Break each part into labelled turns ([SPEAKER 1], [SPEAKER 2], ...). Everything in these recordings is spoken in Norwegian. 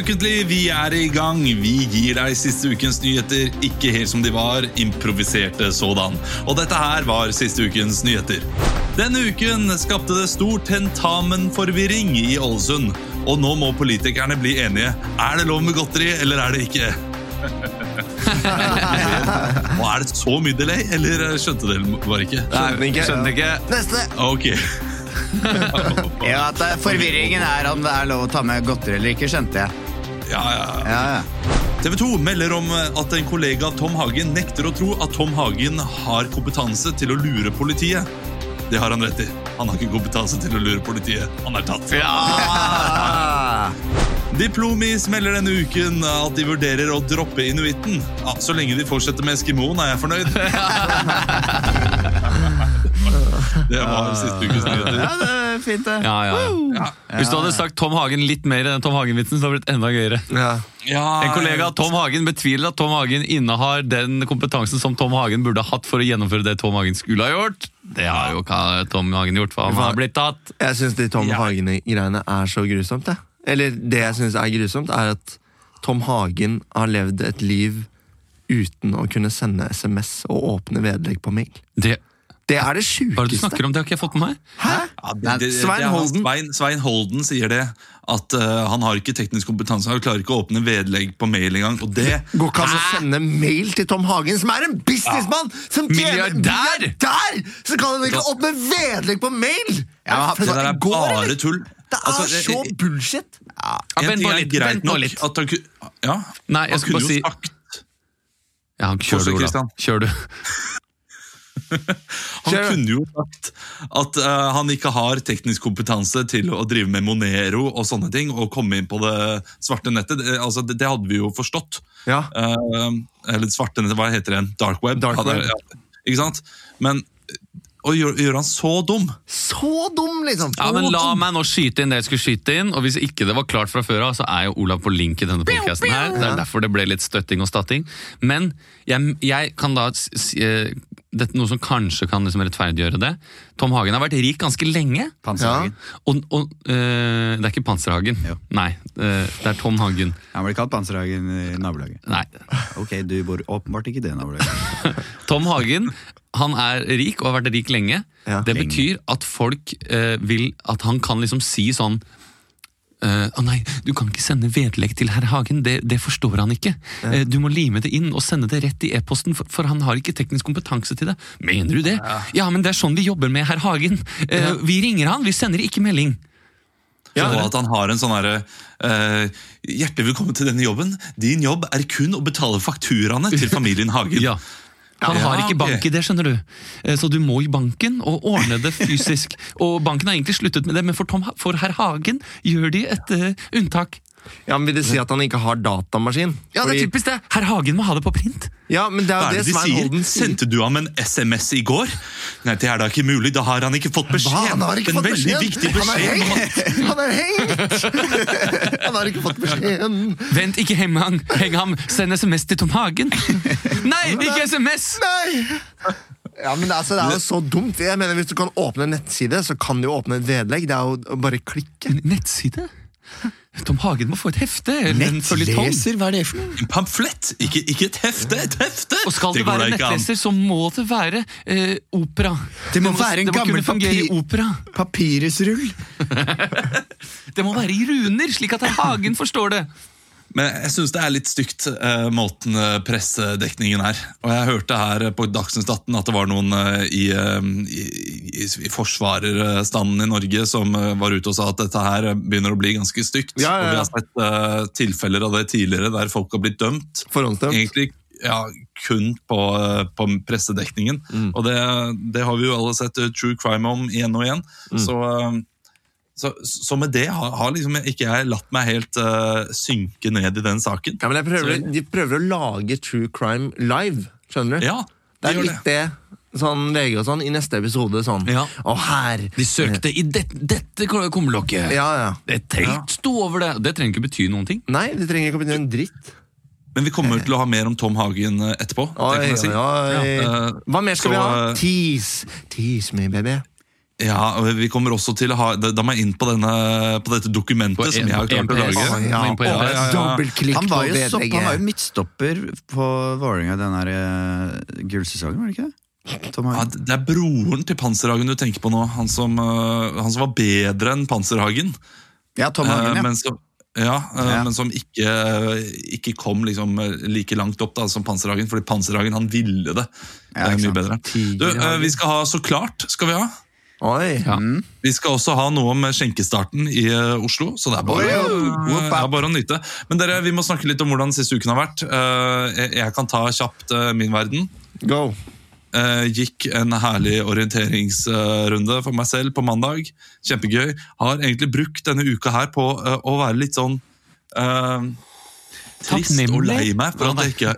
[SPEAKER 1] ukentlig, vi er i gang. Vi gir deg siste ukens nyheter, ikke helt som de var, improviserte sådan. Og dette her var siste ukens nyheter. Denne uken skapte det stor tentamenforvirring i Ålesund. Og nå må politikerne bli enige. Er det lov med godteri, eller er det ikke? Og er det så mye delay, eller skjønte dere bare ikke?
[SPEAKER 2] Skjønner ikke. Skjønner ikke.
[SPEAKER 3] Neste!
[SPEAKER 1] Ok.
[SPEAKER 3] Ja, at det- Forvirringen er om det er lov å ta med godteri eller ikke, skjønte jeg.
[SPEAKER 1] Ja, ja.
[SPEAKER 3] Ja, ja.
[SPEAKER 1] TV 2 melder om eh, at en kollega av Tom Hagen nekter å tro at Tom Hagen har kompetanse til å lure politiet. Det har han rett i. Han har ikke kompetanse til å lure politiet. Han er tatt.
[SPEAKER 3] Ah!
[SPEAKER 1] Diplomis melder denne uken at de vurderer å droppe inuitten. Ja, så lenge de fortsetter med Eskimoen, er jeg fornøyd. Det var siste ukes nyheter.
[SPEAKER 3] Ja, det er fint, det.
[SPEAKER 2] Ja, ja, ja. Hvis du hadde sagt Tom Hagen litt mer enn Tom Hagen-vitsen, så hadde det blitt enda gøyere.
[SPEAKER 4] Ja.
[SPEAKER 2] En kollega av Tom Hagen betviler at Tom Hagen innehar den kompetansen som Tom Hagen burde hatt for å gjennomføre det Tom Hagen skulle ha gjort. Det har jo ikke Tom Hagen gjort, for han har blitt tatt.
[SPEAKER 4] Jeg syns de Tom
[SPEAKER 1] Ja.
[SPEAKER 4] Hagen-greiene er så grusomt. Jeg. Eller det jeg syns er grusomt, er at Tom Hagen har levd et liv uten å kunne sende SMS og åpne vedlegg på mail.
[SPEAKER 2] Det,
[SPEAKER 4] Det er
[SPEAKER 2] hva er
[SPEAKER 4] det
[SPEAKER 2] det du
[SPEAKER 4] sjukeste.
[SPEAKER 2] snakker om? Det har ikke jeg fått med meg.
[SPEAKER 4] Hæ?
[SPEAKER 1] Ja, det,
[SPEAKER 3] Nei,
[SPEAKER 1] det, det,
[SPEAKER 4] Svein
[SPEAKER 1] er han-
[SPEAKER 4] Holden.
[SPEAKER 1] Svein, Svein Holden sier det. At eh, han har ikke teknisk kompetanse. Han klarer ikke å åpne vedlegg på mail engang. Og det
[SPEAKER 4] Går ikke an å sende mail til Tom Hagen, som er en businessmann! Som tjener
[SPEAKER 2] Milliardær!
[SPEAKER 4] milliardær! Så kan han ikke opp med vedlegg på mail!
[SPEAKER 3] Ja, men
[SPEAKER 1] Ah, det der er
[SPEAKER 4] Går, eller?
[SPEAKER 1] bare tull.
[SPEAKER 4] Det er
[SPEAKER 1] Altså, det-
[SPEAKER 4] så bullshit!
[SPEAKER 2] Ja,
[SPEAKER 1] En
[SPEAKER 2] vent
[SPEAKER 1] ting
[SPEAKER 2] nå
[SPEAKER 1] er
[SPEAKER 2] litt,
[SPEAKER 1] greit
[SPEAKER 2] vent nå
[SPEAKER 1] nok
[SPEAKER 2] litt.
[SPEAKER 1] at han ku- Ja,
[SPEAKER 2] Nei, jeg
[SPEAKER 1] han
[SPEAKER 2] skal
[SPEAKER 1] kunne jo
[SPEAKER 2] bare si
[SPEAKER 1] sagt
[SPEAKER 2] Ja, kjør du,
[SPEAKER 1] Fortsett,
[SPEAKER 2] Ola.
[SPEAKER 1] Christian.
[SPEAKER 2] Kjør du.
[SPEAKER 1] Han
[SPEAKER 4] Kjør.
[SPEAKER 1] kunne jo sagt at eh, han ikke har teknisk kompetanse til å drive med Monero og sånne ting, og komme inn på det svarte nettet. Det, altså, det, det hadde vi jo forstått.
[SPEAKER 4] Ja.
[SPEAKER 1] Eh, eller svarte nettet, hva heter det? Dark web?
[SPEAKER 4] Dark
[SPEAKER 1] Ja, det er-
[SPEAKER 4] web.
[SPEAKER 1] Ja, ikke sant? Men å gjøre, gjøre han så dum
[SPEAKER 4] Så dum, liksom!
[SPEAKER 2] Ja, men
[SPEAKER 4] Så
[SPEAKER 2] La
[SPEAKER 4] dum.
[SPEAKER 2] meg nå skyte inn det jeg skulle skyte inn. Og hvis ikke det var klart fra før av, så er jo Olav på link i denne podcasten her. Det er derfor det ble litt støtting og statting. Men jeg, jeg kan da s- s- eh, Dette er noe som kanskje kan liksom rettferdiggjøre det. Tom Hagen har vært rik ganske lenge.
[SPEAKER 3] Panserhagen.
[SPEAKER 2] Og, og eh, Det er ikke Panserhagen.
[SPEAKER 3] Jo.
[SPEAKER 2] Nei, eh, det er Tom Hagen.
[SPEAKER 3] Han ble kalt Panserhagen i nabolaget.
[SPEAKER 2] Nei.
[SPEAKER 3] Ok, du bor åpenbart ikke i det nabolaget.
[SPEAKER 2] Tom Hagen han er rik og har vært rik lenge.
[SPEAKER 4] Ja.
[SPEAKER 2] det betyr at folk eh, vil At han kan liksom si sånn eh, Å nei, du kan ikke sende vedlegg til herr Hagen, det, det forstår han ikke. Eh, du må lime det inn og sende det rett i e-posten, for, for han har ikke teknisk kompetanse til det. Mener du det? Ja, men det er sånn vi jobber med herr Hagen. Eh, Vi ringer han, vi sender ikke melding.
[SPEAKER 1] og at han har en sånn herre eh, Hjertelig velkommen til denne jobben. Din jobb er kun å betale fakturaene til familien Hagen.
[SPEAKER 2] Ja. Han
[SPEAKER 1] Ja,
[SPEAKER 2] har
[SPEAKER 1] ok.
[SPEAKER 2] ikke bank i det, skjønner du. Eh, Så du må i banken og ordne det fysisk. Og banken har egentlig sluttet med det, men for, Tom, Ha- for herr Hagen gjør de et eh, unntak.
[SPEAKER 4] Ja, men Vil det si at han ikke har datamaskin?
[SPEAKER 2] Ja, det
[SPEAKER 4] Fordi-
[SPEAKER 2] er typisk det! Herr Hagen må ha det på print.
[SPEAKER 4] Ja, men det er
[SPEAKER 1] Hva er
[SPEAKER 4] jo det,
[SPEAKER 1] det de
[SPEAKER 4] Svein
[SPEAKER 1] sier?
[SPEAKER 4] Holden sier.
[SPEAKER 1] Sendte du ham en SMS i går? Nei, det er da ikke mulig. Da har han ikke fått beskjed.
[SPEAKER 4] Hva? Han har ikke
[SPEAKER 1] en
[SPEAKER 4] fått
[SPEAKER 1] veldig
[SPEAKER 4] beskjeden.
[SPEAKER 1] viktig beskjed. om
[SPEAKER 4] Han
[SPEAKER 1] at-
[SPEAKER 4] er hengt! Han er hengt! Han har ikke fått beskjeden.
[SPEAKER 2] Vent, ikke heng ham! Heng ham. Send SMS til Tom Hagen! Nei, ikke SMS!
[SPEAKER 4] Nei! Ja, men altså, Det er jo så dumt. Jeg mener, Hvis du kan åpne en nettside, så kan du jo åpne et vedlegg. Det er jo å bare klikke.
[SPEAKER 2] Nettside? Tom Hagen må få et hefte eller en føljetong.
[SPEAKER 3] hva er det for noe?
[SPEAKER 1] En pamflett, ikke, ikke et hefte! Et hefte!
[SPEAKER 2] Og skal det,
[SPEAKER 1] går
[SPEAKER 2] være
[SPEAKER 1] da ikke an.
[SPEAKER 2] nettleser, så må det være eh, opera.
[SPEAKER 3] Det må være en
[SPEAKER 2] det må
[SPEAKER 3] gammel
[SPEAKER 2] kunne fungere i
[SPEAKER 3] papir-
[SPEAKER 2] opera.
[SPEAKER 3] Papirusrull.
[SPEAKER 2] Det må være i runer, slik at herr Hagen forstår det.
[SPEAKER 1] Men jeg syns det er litt stygt, eh, måten eh, pressedekningen er. Og jeg hørte her eh, på Dagsnytt 18 at det var noen eh, i, eh, i, i, i forsvarerstanden i Norge som eh, var ute og sa at dette her begynner å bli ganske stygt.
[SPEAKER 4] Ja, ja, ja.
[SPEAKER 1] Og vi har sett eh, tilfeller av det tidligere der folk har blitt dømt.
[SPEAKER 4] Forhåndsdømt.
[SPEAKER 1] egentlig ja, kun på, eh, på pressedekningen. Og det, det har vi jo alle sett eh, true crime om igjen og igjen. Så, eh, så, så med det har, har liksom ikke jeg latt meg helt eh, synke ned i den saken.
[SPEAKER 4] Ja, men jeg prøver, De prøver å lage true crime live. Skjønner du?
[SPEAKER 1] Ja,
[SPEAKER 4] det
[SPEAKER 1] det
[SPEAKER 4] er
[SPEAKER 1] gjør
[SPEAKER 4] litt
[SPEAKER 1] det.
[SPEAKER 4] det. Sånn VG og sånn i neste episode. sånn.
[SPEAKER 2] Ja.
[SPEAKER 4] Og her
[SPEAKER 2] De søkte i det, dette kummelokket.
[SPEAKER 4] Ja, ja.
[SPEAKER 2] Et telt sto over det. Det trenger ikke bety noen ting.
[SPEAKER 4] Nei, det trenger ikke å bety en dritt.
[SPEAKER 1] Men vi kommer til å ha mer om Tom Hagen eh, etterpå. det
[SPEAKER 4] Oi,
[SPEAKER 1] kan jeg si.
[SPEAKER 4] oi, oi.
[SPEAKER 1] Ja, eh,
[SPEAKER 4] Hva mer skal
[SPEAKER 1] så,
[SPEAKER 4] vi ha?
[SPEAKER 1] eh,
[SPEAKER 4] Tease. Tease me, baby.
[SPEAKER 1] Ja, og vi kommer også til å ha Da da må jeg inn på, denne, på dette dokumentet
[SPEAKER 2] På
[SPEAKER 1] som
[SPEAKER 2] en-
[SPEAKER 1] jeg har
[SPEAKER 2] på
[SPEAKER 1] klart å
[SPEAKER 2] MPS.
[SPEAKER 1] lage.
[SPEAKER 2] Å, ja.
[SPEAKER 1] Å, ja, ja, ja.
[SPEAKER 4] Dobbeltklikk
[SPEAKER 3] Han
[SPEAKER 4] på
[SPEAKER 3] var jo, sopp, han var jo
[SPEAKER 4] vedlegget.
[SPEAKER 3] midtstopper på Vålerenga den her eh, gullsesongen, var det ikke det? Tom
[SPEAKER 1] Ja,
[SPEAKER 3] Hagen.
[SPEAKER 1] det er broren til Panserhagen du tenker på nå. Han som, øh, han som var bedre enn Panserhagen.
[SPEAKER 3] Ja, Tom
[SPEAKER 1] eh,
[SPEAKER 3] Hagen, ja.
[SPEAKER 1] men som, ja, eh,
[SPEAKER 3] Ja.
[SPEAKER 1] men som ikke, ikke kom liksom eh, like langt opp da, som Panserhagen, fordi Panserhagen han ville det.
[SPEAKER 3] Ja,
[SPEAKER 1] det er
[SPEAKER 3] ikke
[SPEAKER 1] mye
[SPEAKER 3] sant.
[SPEAKER 1] bedre. Du, eh, vi skal ha Så klart, skal vi ha.
[SPEAKER 4] Oi.
[SPEAKER 2] Ja.
[SPEAKER 1] Vi skal også ha noe om skjenkestarten i eh, Oslo, så det er bare,
[SPEAKER 3] Oi,
[SPEAKER 1] å-
[SPEAKER 3] oh, whoop,
[SPEAKER 1] det er
[SPEAKER 3] whoop.
[SPEAKER 1] bare å nyte. Men dere, vi må snakke litt om hvordan siste uken har vært. Eh, Jeg jeg kan ta kjapt eh, min verden.
[SPEAKER 4] Go.
[SPEAKER 1] Eh, Gikk en herlig orienteringsrunde for meg selv på mandag. Kjempegøy. Har egentlig brukt denne uka her på eh, å være litt sånn eh, trist og
[SPEAKER 2] Takknemlig?
[SPEAKER 1] lei meg for at jeg ikke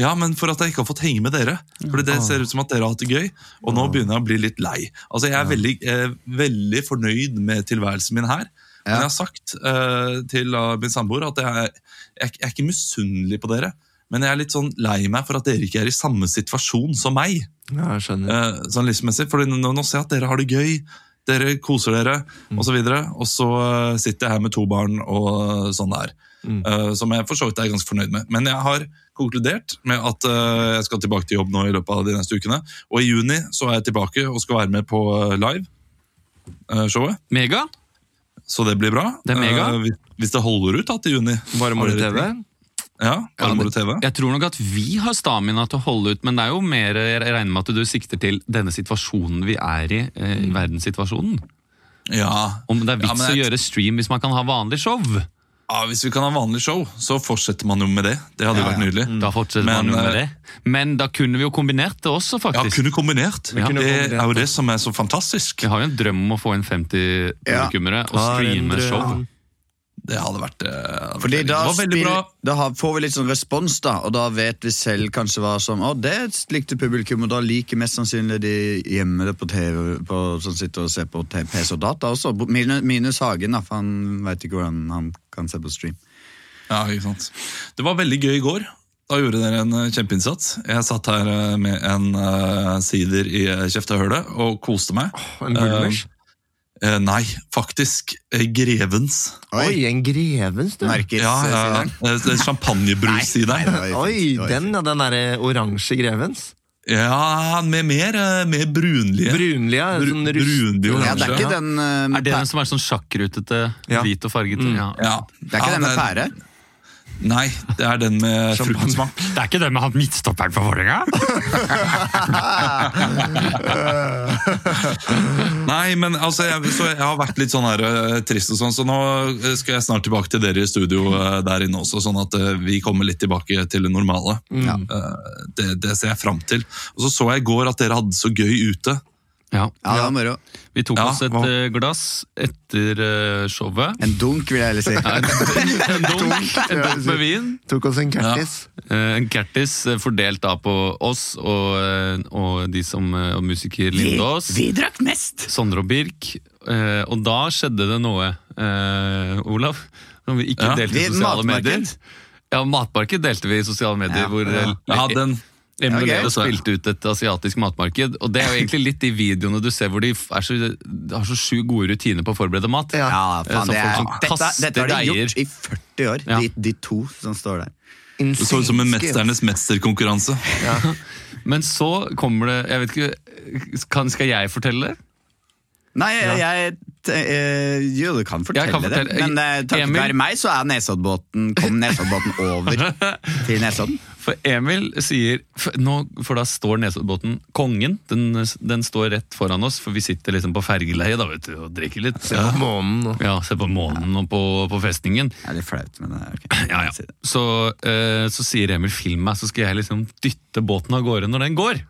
[SPEAKER 1] ja, men for at jeg ikke har fått henge med dere. Fordi det ser ut som at dere har hatt det gøy, og nå begynner jeg å bli litt lei. Altså, Jeg er veldig, eh, veldig fornøyd med tilværelsen min her. Men jeg har sagt eh, til eh, min samboer at jeg, er- jeg, er- jeg er ikke misunnelig på dere. Men jeg er litt sånn lei meg for at dere ikke er i samme situasjon som meg.
[SPEAKER 4] Ja, jeg skjønner.
[SPEAKER 1] Eh, sånn livsmessig. For nå, nå ser jeg at dere har det gøy, dere koser dere osv. Og så eh, sitter jeg her med to barn og sånn der. Eh, som jeg for så vidt er ganske fornøyd med. Men jeg har konkludert med at eh, jeg skal tilbake til jobb nå i løpet av de neste ukene. Og i juni så er jeg tilbake og skal være med på eh, live-showet.
[SPEAKER 2] Mega?
[SPEAKER 1] så det blir bra.
[SPEAKER 2] Det er mega.
[SPEAKER 1] Eh, hvis, hvis det holder ut da, til juni.
[SPEAKER 4] Bare
[SPEAKER 1] Har
[SPEAKER 4] moro
[SPEAKER 1] dere-
[SPEAKER 4] TV.
[SPEAKER 1] Ja, bare moro TV.
[SPEAKER 2] Jeg tror nok at vi har stamina til å holde ut, men det er jo mer jeg regner med at du sikter til denne situasjonen vi er i, eh, i verdenssituasjonen.
[SPEAKER 1] Ja.
[SPEAKER 2] Om det er
[SPEAKER 1] Mm. Ja,
[SPEAKER 2] vits
[SPEAKER 1] men jeg- Mm.
[SPEAKER 2] å gjøre stream hvis man kan ha vanlig show.
[SPEAKER 1] ja, Hvis vi kan ha vanlig show, så fortsetter man jo med det. Det hadde jo vært nydelig.
[SPEAKER 2] Da fortsetter
[SPEAKER 1] Men,
[SPEAKER 2] man jo med
[SPEAKER 1] eh,
[SPEAKER 2] det. Men da kunne vi jo kombinert det også,
[SPEAKER 1] Ja,
[SPEAKER 2] faktisk.
[SPEAKER 1] kunne kombinert.
[SPEAKER 2] Vi kunne
[SPEAKER 1] det er
[SPEAKER 4] kombinert.
[SPEAKER 1] jo det som er så fantastisk.
[SPEAKER 2] Vi har jo en drøm om å få inn 50
[SPEAKER 3] Ja.
[SPEAKER 2] publikummere og
[SPEAKER 4] Har en
[SPEAKER 1] Eh,
[SPEAKER 2] streame
[SPEAKER 4] drøm.
[SPEAKER 2] show.
[SPEAKER 1] Det hadde vært eh,
[SPEAKER 3] Fordi da,
[SPEAKER 1] Det var veldig
[SPEAKER 3] spill-
[SPEAKER 1] bra.
[SPEAKER 3] da har- får vi litt sånn respons, da, og da vet vi selv kanskje hva som Å, det likte publikum, og da liker mest sannsynlig de hjemme det på TV på, som sitter og ser på te- PC og data også. Bo- Minus, minus Hagen, da, for han veit ikke hvordan han kan se på stream.
[SPEAKER 1] Ja, ikke sant. Det var veldig gøy i går. Da gjorde dere en eh, kjempeinnsats. Jeg satt her eh, med en eh, sider i eh, kjeftehølet og koste meg.
[SPEAKER 4] En bulmers.
[SPEAKER 1] Eh, nei, faktisk. eh, Grevens.
[SPEAKER 4] Eh, Oi, en grevens, du.
[SPEAKER 3] Merkes.
[SPEAKER 1] Ja, ja, ja.
[SPEAKER 3] sier han.
[SPEAKER 1] Eh, det er Champagnebrus i deg.
[SPEAKER 3] Oi,
[SPEAKER 4] Oi,
[SPEAKER 3] fint.
[SPEAKER 4] den, ja. Den derre oransje grevens.
[SPEAKER 1] Ja, med mer, eh, mer brunlige.
[SPEAKER 4] Brunlige.
[SPEAKER 1] Bru-
[SPEAKER 4] sånn rust-
[SPEAKER 1] brunlig
[SPEAKER 3] Ja, det er ikke
[SPEAKER 1] oransje.
[SPEAKER 3] den eh, med
[SPEAKER 2] Er det
[SPEAKER 3] pæ-
[SPEAKER 2] den som er sånn sjakkrutete,
[SPEAKER 4] Ja.
[SPEAKER 2] hvit og farget? Ja.
[SPEAKER 1] Ja.
[SPEAKER 3] det er ikke
[SPEAKER 1] Ja,
[SPEAKER 3] den med
[SPEAKER 1] det-
[SPEAKER 3] pære?
[SPEAKER 1] Nei, det er den med
[SPEAKER 4] Champagne.
[SPEAKER 1] fruktsmak.
[SPEAKER 2] Det er ikke den med han midtstopperen for Vålerenga?
[SPEAKER 1] Nei, men altså, jeg, så jeg har vært litt sånn her eh, trist og sånn, så nå eh, skal jeg snart tilbake til dere i studio eh, der inne også, sånn at eh, vi kommer litt tilbake til det normale.
[SPEAKER 2] Mm.
[SPEAKER 1] Eh, Det, det ser jeg fram til. Og så så jeg i går at dere hadde så gøy ute.
[SPEAKER 2] Ja.
[SPEAKER 3] Ja, det var moro.
[SPEAKER 2] Vi tok
[SPEAKER 1] Ja,
[SPEAKER 2] oss et
[SPEAKER 4] hva?
[SPEAKER 2] eh, glass etter eh, showet.
[SPEAKER 3] En dunk, vil jeg heller si.
[SPEAKER 2] En, en dunk en dunk med vin.
[SPEAKER 4] Tok oss en kertis.
[SPEAKER 2] Eh, En Gertis eh, fordelt da på oss og, eh, og de som eh, og musiker Lindås.
[SPEAKER 3] drakk mest!
[SPEAKER 2] Sondre og Birk. eh, Og da skjedde det noe, eh, Olav, som vi ikke
[SPEAKER 1] Ja.
[SPEAKER 2] delte
[SPEAKER 3] Vi-
[SPEAKER 2] i sosiale
[SPEAKER 3] matmarked.
[SPEAKER 2] medier. Ja, Matmarked delte vi i sosiale medier,
[SPEAKER 3] Ja.
[SPEAKER 2] hvor
[SPEAKER 3] Ja.
[SPEAKER 1] Ja,
[SPEAKER 2] eh,
[SPEAKER 1] den,
[SPEAKER 2] Emil
[SPEAKER 3] Ok.
[SPEAKER 2] okay. spilte ut et asiatisk matmarked, og det er jo egentlig litt de videoene du ser hvor de f- er så, de har så sju gode rutiner på å forberede mat.
[SPEAKER 4] Ja.
[SPEAKER 3] Ja,
[SPEAKER 2] Eh,
[SPEAKER 3] faen,
[SPEAKER 2] som
[SPEAKER 3] det er,
[SPEAKER 2] folk som
[SPEAKER 3] dette, dette
[SPEAKER 2] kaster
[SPEAKER 3] har de gjort
[SPEAKER 2] deiger.
[SPEAKER 3] i 40 år,
[SPEAKER 2] Ja.
[SPEAKER 3] de, de to som står der.
[SPEAKER 1] det så ut som en Mesternes
[SPEAKER 2] altså.
[SPEAKER 1] mesterkonkurranse.
[SPEAKER 2] Men så kommer det Jeg vet ikke eh, kan, Skal jeg fortelle det?
[SPEAKER 3] Nei, jeg, jeg t- eh, Jo, du kan fortelle,
[SPEAKER 2] Jeg kan
[SPEAKER 3] det,
[SPEAKER 2] fortelle.
[SPEAKER 3] men eh, takket
[SPEAKER 2] Emil-
[SPEAKER 3] være meg så er Nesoddbåten kom Nesoddbåten over til Nesodden.
[SPEAKER 2] For Emil sier for, nå, for da står Nesoddbåten Kongen. Den, den står rett foran oss, for vi sitter liksom på fergeleiet da, vet du, og drikker litt.
[SPEAKER 4] Se på månen og
[SPEAKER 2] Ja, ser på månen og på, på festningen.
[SPEAKER 3] Det er litt flaut, men eh, ok.
[SPEAKER 2] Ja, ja. Så, eh, så sier Emil 'film meg', så skal jeg liksom dytte båten av gårde når den går.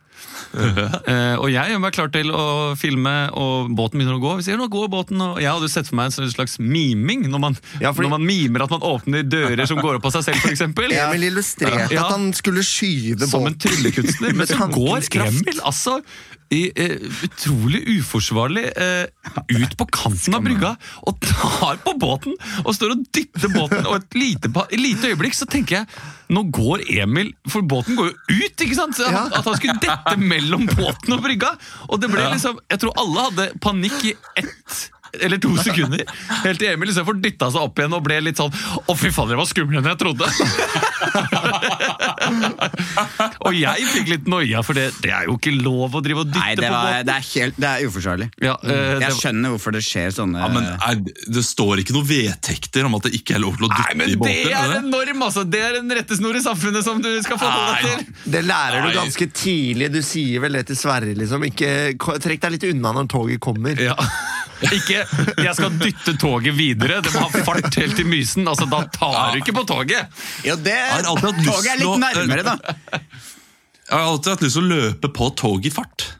[SPEAKER 2] Eh, og jeg gjør meg klar til å filme, og båten begynner å gå. Vi sier, nå går båten, og Jeg hadde jo sett for meg en sånn slags miming, når man,
[SPEAKER 4] Ja, fordi-
[SPEAKER 2] når man mimer at man åpner dører som går opp av seg selv, f.eks.
[SPEAKER 4] Emil illustrerte
[SPEAKER 2] Ja.
[SPEAKER 4] at han skulle skyve
[SPEAKER 2] Som en
[SPEAKER 4] båten.
[SPEAKER 2] tryllekunstner. Men
[SPEAKER 4] Med
[SPEAKER 2] så går
[SPEAKER 4] tankens kraft.
[SPEAKER 2] Emil altså i, eh, utrolig uforsvarlig eh, ut på kanten av brygga og tar på båten og står og dytter båten. Og et lite, pa- et lite øyeblikk så tenker jeg Nå går Emil For båten går jo ut, ikke sant? Så han, At han skulle dette mellom båten og brygga. Og det ble liksom Jeg tror alle hadde panikk i ett eller to sekunder. Helt til Emil liksom får dytta seg opp igjen og ble litt sånn Å, fy fader, det var skumlere enn jeg trodde! og jeg fikk litt noia, for det, det er jo ikke lov å drive og dytte
[SPEAKER 3] Nei, det, var,
[SPEAKER 2] på båten.
[SPEAKER 3] det, er helt, det er uforsvarlig.
[SPEAKER 2] Ja, eh,
[SPEAKER 3] Jeg
[SPEAKER 2] det var-
[SPEAKER 3] skjønner hvorfor det skjer sånne
[SPEAKER 1] Ja, men er, Det står ikke noen vedtekter om at det ikke er lov til å
[SPEAKER 2] Eh. Nei,
[SPEAKER 1] dytte
[SPEAKER 2] men
[SPEAKER 1] i båter?
[SPEAKER 2] det er
[SPEAKER 1] er det?
[SPEAKER 2] en norm, altså! Det er en rettesnor i samfunnet som du skal forholde
[SPEAKER 1] Nei.
[SPEAKER 2] deg til!
[SPEAKER 4] Det lærer
[SPEAKER 1] Nei.
[SPEAKER 4] du ganske tidlig. Du sier vel det til Sverre, liksom. Ikke, ko- trekk deg litt unna når toget kommer.
[SPEAKER 2] Ja. Ikke 'jeg skal dytte toget videre', det må ha fart helt til Mysen. Altså, Da tar du ikke på toget!
[SPEAKER 3] Jo, det
[SPEAKER 1] har alltid hatt lyst
[SPEAKER 3] Toget er
[SPEAKER 1] til å-
[SPEAKER 3] litt nærmere, da.
[SPEAKER 1] Jeg har alltid hatt lyst til å løpe på toget i fart.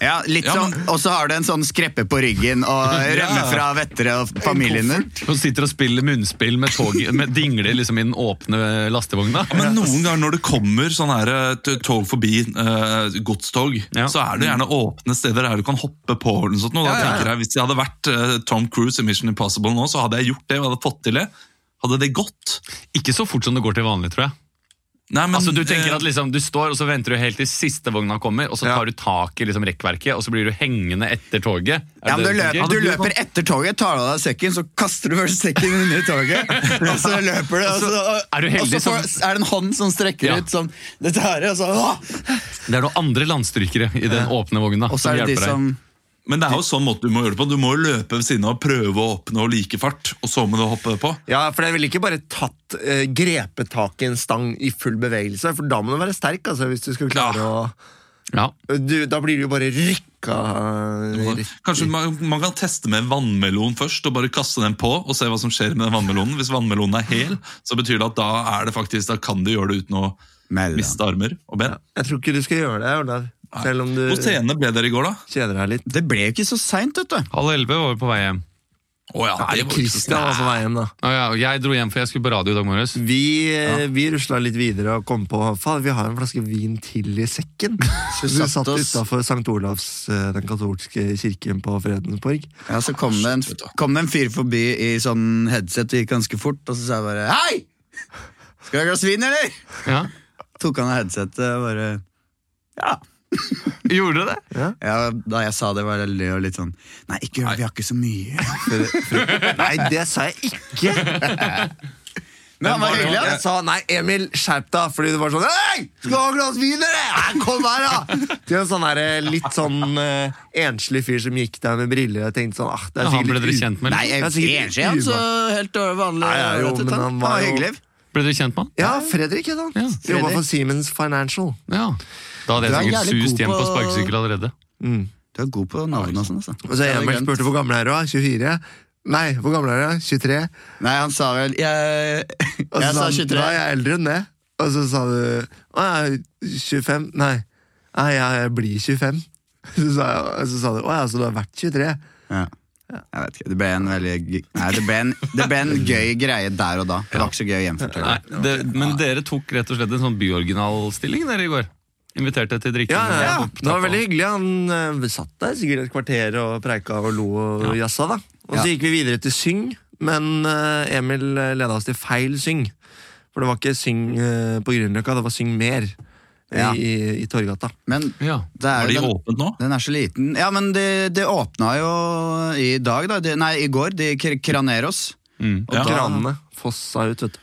[SPEAKER 3] Ja, litt
[SPEAKER 1] Ja,
[SPEAKER 3] sånn,
[SPEAKER 1] men-
[SPEAKER 3] Og så har du en sånn skreppe på ryggen og rømme fra vettere og familien din.
[SPEAKER 2] Hun sitter og spiller munnspill med, toget, med dingler liksom i den åpne lastevogna.
[SPEAKER 1] Men noen ganger når det kommer sånn her eh, t- tog forbi eh, godstog,
[SPEAKER 2] Ja.
[SPEAKER 1] så er det gjerne åpne steder der du kan hoppe på og sånt. noe. Da
[SPEAKER 2] Ja, ja, ja.
[SPEAKER 1] tenker jeg, Hvis jeg hadde vært eh, Tom Cruise i Mission Impossible nå, så hadde jeg gjort det og hadde fått til det. Hadde det gått?
[SPEAKER 2] Ikke så fort som det går til vanlig, tror jeg.
[SPEAKER 1] Nei, men,
[SPEAKER 2] Altså, Du tenker
[SPEAKER 1] eh,
[SPEAKER 2] at liksom, du står og så venter du helt til siste vogna kommer, og så
[SPEAKER 4] Ja.
[SPEAKER 2] tar du tak i liksom rekkverket, og så blir du hengende etter toget. Er
[SPEAKER 3] Ja, men
[SPEAKER 2] det
[SPEAKER 3] du,
[SPEAKER 2] det
[SPEAKER 3] løper,
[SPEAKER 2] tenker?
[SPEAKER 3] du løper etter toget, tar av deg sekken, så kaster du først sekken under toget. Og så løper du, og så,
[SPEAKER 2] er du heldig
[SPEAKER 3] og så får, er det en hånd som strekker
[SPEAKER 2] Ja.
[SPEAKER 3] ut sånn Dette her, og så åh!
[SPEAKER 2] Det er noen andre landstrykere i den åpne vogna
[SPEAKER 3] Og så er
[SPEAKER 2] som
[SPEAKER 3] det de
[SPEAKER 2] hjelper deg.
[SPEAKER 3] som
[SPEAKER 1] Men det er jo sånn måte du må gjøre det på. Du må jo løpe ved siden av og prøve å oppnå like fart, og så må du hoppe på.
[SPEAKER 4] Ja, for det er vel ikke bare tatt, eh, grepet tak i en stang i full bevegelse, for da må du være sterk, altså, hvis du skal klare
[SPEAKER 2] Ja.
[SPEAKER 4] å du, Da blir du jo bare rykka eh, rett-
[SPEAKER 1] Kanskje man, man kan teste med vannmelon først, og bare kaste den på og se hva som skjer med den vannmelonen. Hvis vannmelonen er hel, så betyr det at da, er det faktisk, da kan du gjøre det uten å
[SPEAKER 3] Mellom.
[SPEAKER 1] miste armer og ben.
[SPEAKER 4] Jeg tror ikke du skal gjøre det, Olav. Selv om du
[SPEAKER 1] Hvor sene ble dere i går, da?
[SPEAKER 4] kjeder deg litt.
[SPEAKER 3] Det ble jo ikke så seint, vet du.
[SPEAKER 2] Halv elleve var vi på vei hjem.
[SPEAKER 1] Å ja, det var ikke så
[SPEAKER 4] Kristian var på vei hjem, da.
[SPEAKER 2] Å ja, og jeg dro hjem, for jeg skulle på radio i dag morges.
[SPEAKER 4] Vi, eh, vi rusla litt videre og kom på faen, vi har en flaske vin til i sekken. Så vi
[SPEAKER 3] satt
[SPEAKER 4] satt
[SPEAKER 3] oss-
[SPEAKER 4] utafor St. Olavs, eh, den katolske kirken på Fredensborg.
[SPEAKER 3] Ja, Så kom det, en, kom det en fyr forbi i sånn headset og gikk ganske fort, og så sa jeg bare Hei! Skal du ha et glass vin, eller?
[SPEAKER 2] Ja.
[SPEAKER 3] Tok han av headsetet og bare
[SPEAKER 2] Gjorde du det?
[SPEAKER 3] ja, Da jeg sa det, var det lø og litt sånn Nei, ikke gjør det, vi har ikke så mye.
[SPEAKER 4] Nei, det sa jeg ikke!
[SPEAKER 3] Men han var hyggelig,
[SPEAKER 4] Jeg
[SPEAKER 3] han.
[SPEAKER 4] sa nei, Emil, skjerp deg, fordi du var sånn Hei! Skal du ha et glass vin, eller? Nei, Kom her, da! Til en sånn her, eh, litt sånn eh, enslig fyr som gikk der med briller og tenkte sånn ah, det er
[SPEAKER 2] Ja, han
[SPEAKER 4] sikkert
[SPEAKER 2] ble dere
[SPEAKER 4] ut-
[SPEAKER 2] kjent med?
[SPEAKER 3] Nei,
[SPEAKER 2] eller?
[SPEAKER 3] jeg
[SPEAKER 4] Det er sikkert
[SPEAKER 3] enslig, han, så helt øh, vanlig.
[SPEAKER 4] Nei, ja, jo,
[SPEAKER 3] rett ut,
[SPEAKER 4] men
[SPEAKER 3] han.
[SPEAKER 4] han
[SPEAKER 3] han
[SPEAKER 4] var
[SPEAKER 3] var
[SPEAKER 4] jo-
[SPEAKER 3] hyggelig.
[SPEAKER 2] Ble dere kjent med han?
[SPEAKER 4] Ja, Fredrik, ikke sant?
[SPEAKER 2] Ja,
[SPEAKER 4] Jobba
[SPEAKER 3] Fredrik.
[SPEAKER 4] for Siemens Financial.
[SPEAKER 2] Ja. Da hadde
[SPEAKER 3] Du er
[SPEAKER 2] jeg sikkert
[SPEAKER 3] jævlig god
[SPEAKER 2] sust hjem på
[SPEAKER 3] på-
[SPEAKER 2] sparkesykkel allerede.
[SPEAKER 3] Du er god på navn og sånn, altså.
[SPEAKER 4] Mm. Og så
[SPEAKER 3] Jeg hadde
[SPEAKER 4] Emil
[SPEAKER 3] glemt.
[SPEAKER 4] spurte hvor gammel er du? da? 24? Nei, hvor gammel er du? da? 23?
[SPEAKER 3] Nei, han sa vel Jeg,
[SPEAKER 4] Og så
[SPEAKER 3] jeg sa
[SPEAKER 4] han, Nei,
[SPEAKER 3] 23.
[SPEAKER 4] jeg er eldre enn det. Og så sa du å, jeg er 25. Nei, nei, jeg blir 25. Så sa, jeg, og så sa du å ja, så du har vært 23?
[SPEAKER 3] Ja. Jeg vet ikke, Det ble en veldig g- Nei, det ble en, det ble en gøy greie der og da. Det var ikke så gøy å gjenfortelle.
[SPEAKER 2] Nei, det, men dere tok rett og slett en sånn byoriginalstilling dere i går. Inviterte til drikke.
[SPEAKER 4] Ja, ja, ja.
[SPEAKER 2] Og-
[SPEAKER 4] Det var veldig hyggelig. Han eh, vi satt der sikkert et kvarter og preika og lo og jazza, da. Og så
[SPEAKER 3] Ja.
[SPEAKER 4] gikk vi videre til syng, men eh, Emil leda oss til feil syng. For det var ikke syng eh, på Grünerløkka, det var syng mer eh,
[SPEAKER 3] Ja.
[SPEAKER 4] i, i Torgata.
[SPEAKER 3] Men
[SPEAKER 2] Ja.
[SPEAKER 3] det
[SPEAKER 1] Er
[SPEAKER 3] er
[SPEAKER 1] de
[SPEAKER 3] jo den,
[SPEAKER 1] åpent nå?
[SPEAKER 3] den er så liten. Ja, men det, det åpna jo i dag, da. Det, nei, i går. De kr- Kraneros.
[SPEAKER 2] Mm.
[SPEAKER 3] Og
[SPEAKER 1] Ja.
[SPEAKER 3] da,
[SPEAKER 4] Kranene fossa ut, vet du.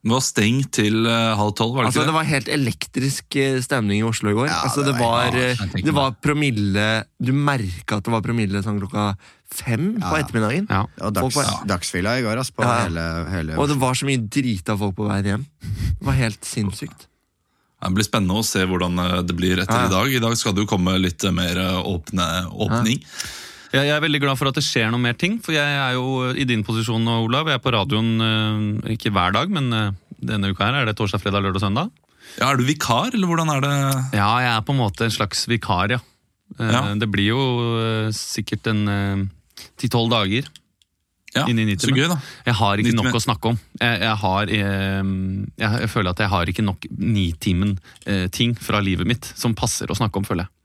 [SPEAKER 1] Det var stengt til eh, halv tolv, var det
[SPEAKER 4] Altså,
[SPEAKER 1] ikke
[SPEAKER 4] det var helt elektrisk eh, stemning i Oslo i går.
[SPEAKER 3] Ja,
[SPEAKER 4] altså,
[SPEAKER 3] det
[SPEAKER 4] det,
[SPEAKER 3] var-
[SPEAKER 4] var,
[SPEAKER 3] ja,
[SPEAKER 4] eh, det var promille Du merka at det var promille sånn klokka fem på
[SPEAKER 3] ja.
[SPEAKER 4] ettermiddagen.
[SPEAKER 2] Ja.
[SPEAKER 3] og dags,
[SPEAKER 4] Folk var-
[SPEAKER 3] dagsfylla i går, ass. På
[SPEAKER 4] Ja, ja.
[SPEAKER 3] hele, hele
[SPEAKER 4] Og det var så mye drita folk på veien hjem. Det var helt sinnssykt.
[SPEAKER 1] Det blir spennende å se hvordan eh, det blir etter
[SPEAKER 4] Ja.
[SPEAKER 1] i dag. I dag skal det jo komme litt eh, mer eh, åpne, åpning.
[SPEAKER 2] Jeg, jeg er veldig glad for at det skjer noe mer ting, for jeg er jo i din posisjon nå, Olav. Jeg er på radioen eh, ikke hver dag, men eh, denne uka her er det torsdag, fredag, lørdag og søndag.
[SPEAKER 1] Ja, er du vikar, eller hvordan er det?
[SPEAKER 2] Ja, jeg er på en måte en slags vikar, ja. Eh,
[SPEAKER 1] Ja.
[SPEAKER 2] Det blir jo eh, sikkert en eh, ti-tolv dager.
[SPEAKER 1] Ja,
[SPEAKER 2] Inn i
[SPEAKER 1] Så
[SPEAKER 2] nittimen.
[SPEAKER 1] gøy, da.
[SPEAKER 2] Jeg har ikke
[SPEAKER 1] Nitimen.
[SPEAKER 2] nok å snakke om. Jeg, jeg, har, eh, jeg, jeg føler at jeg har ikke nok Nitimen-ting fra livet mitt som passer å snakke om, føler jeg.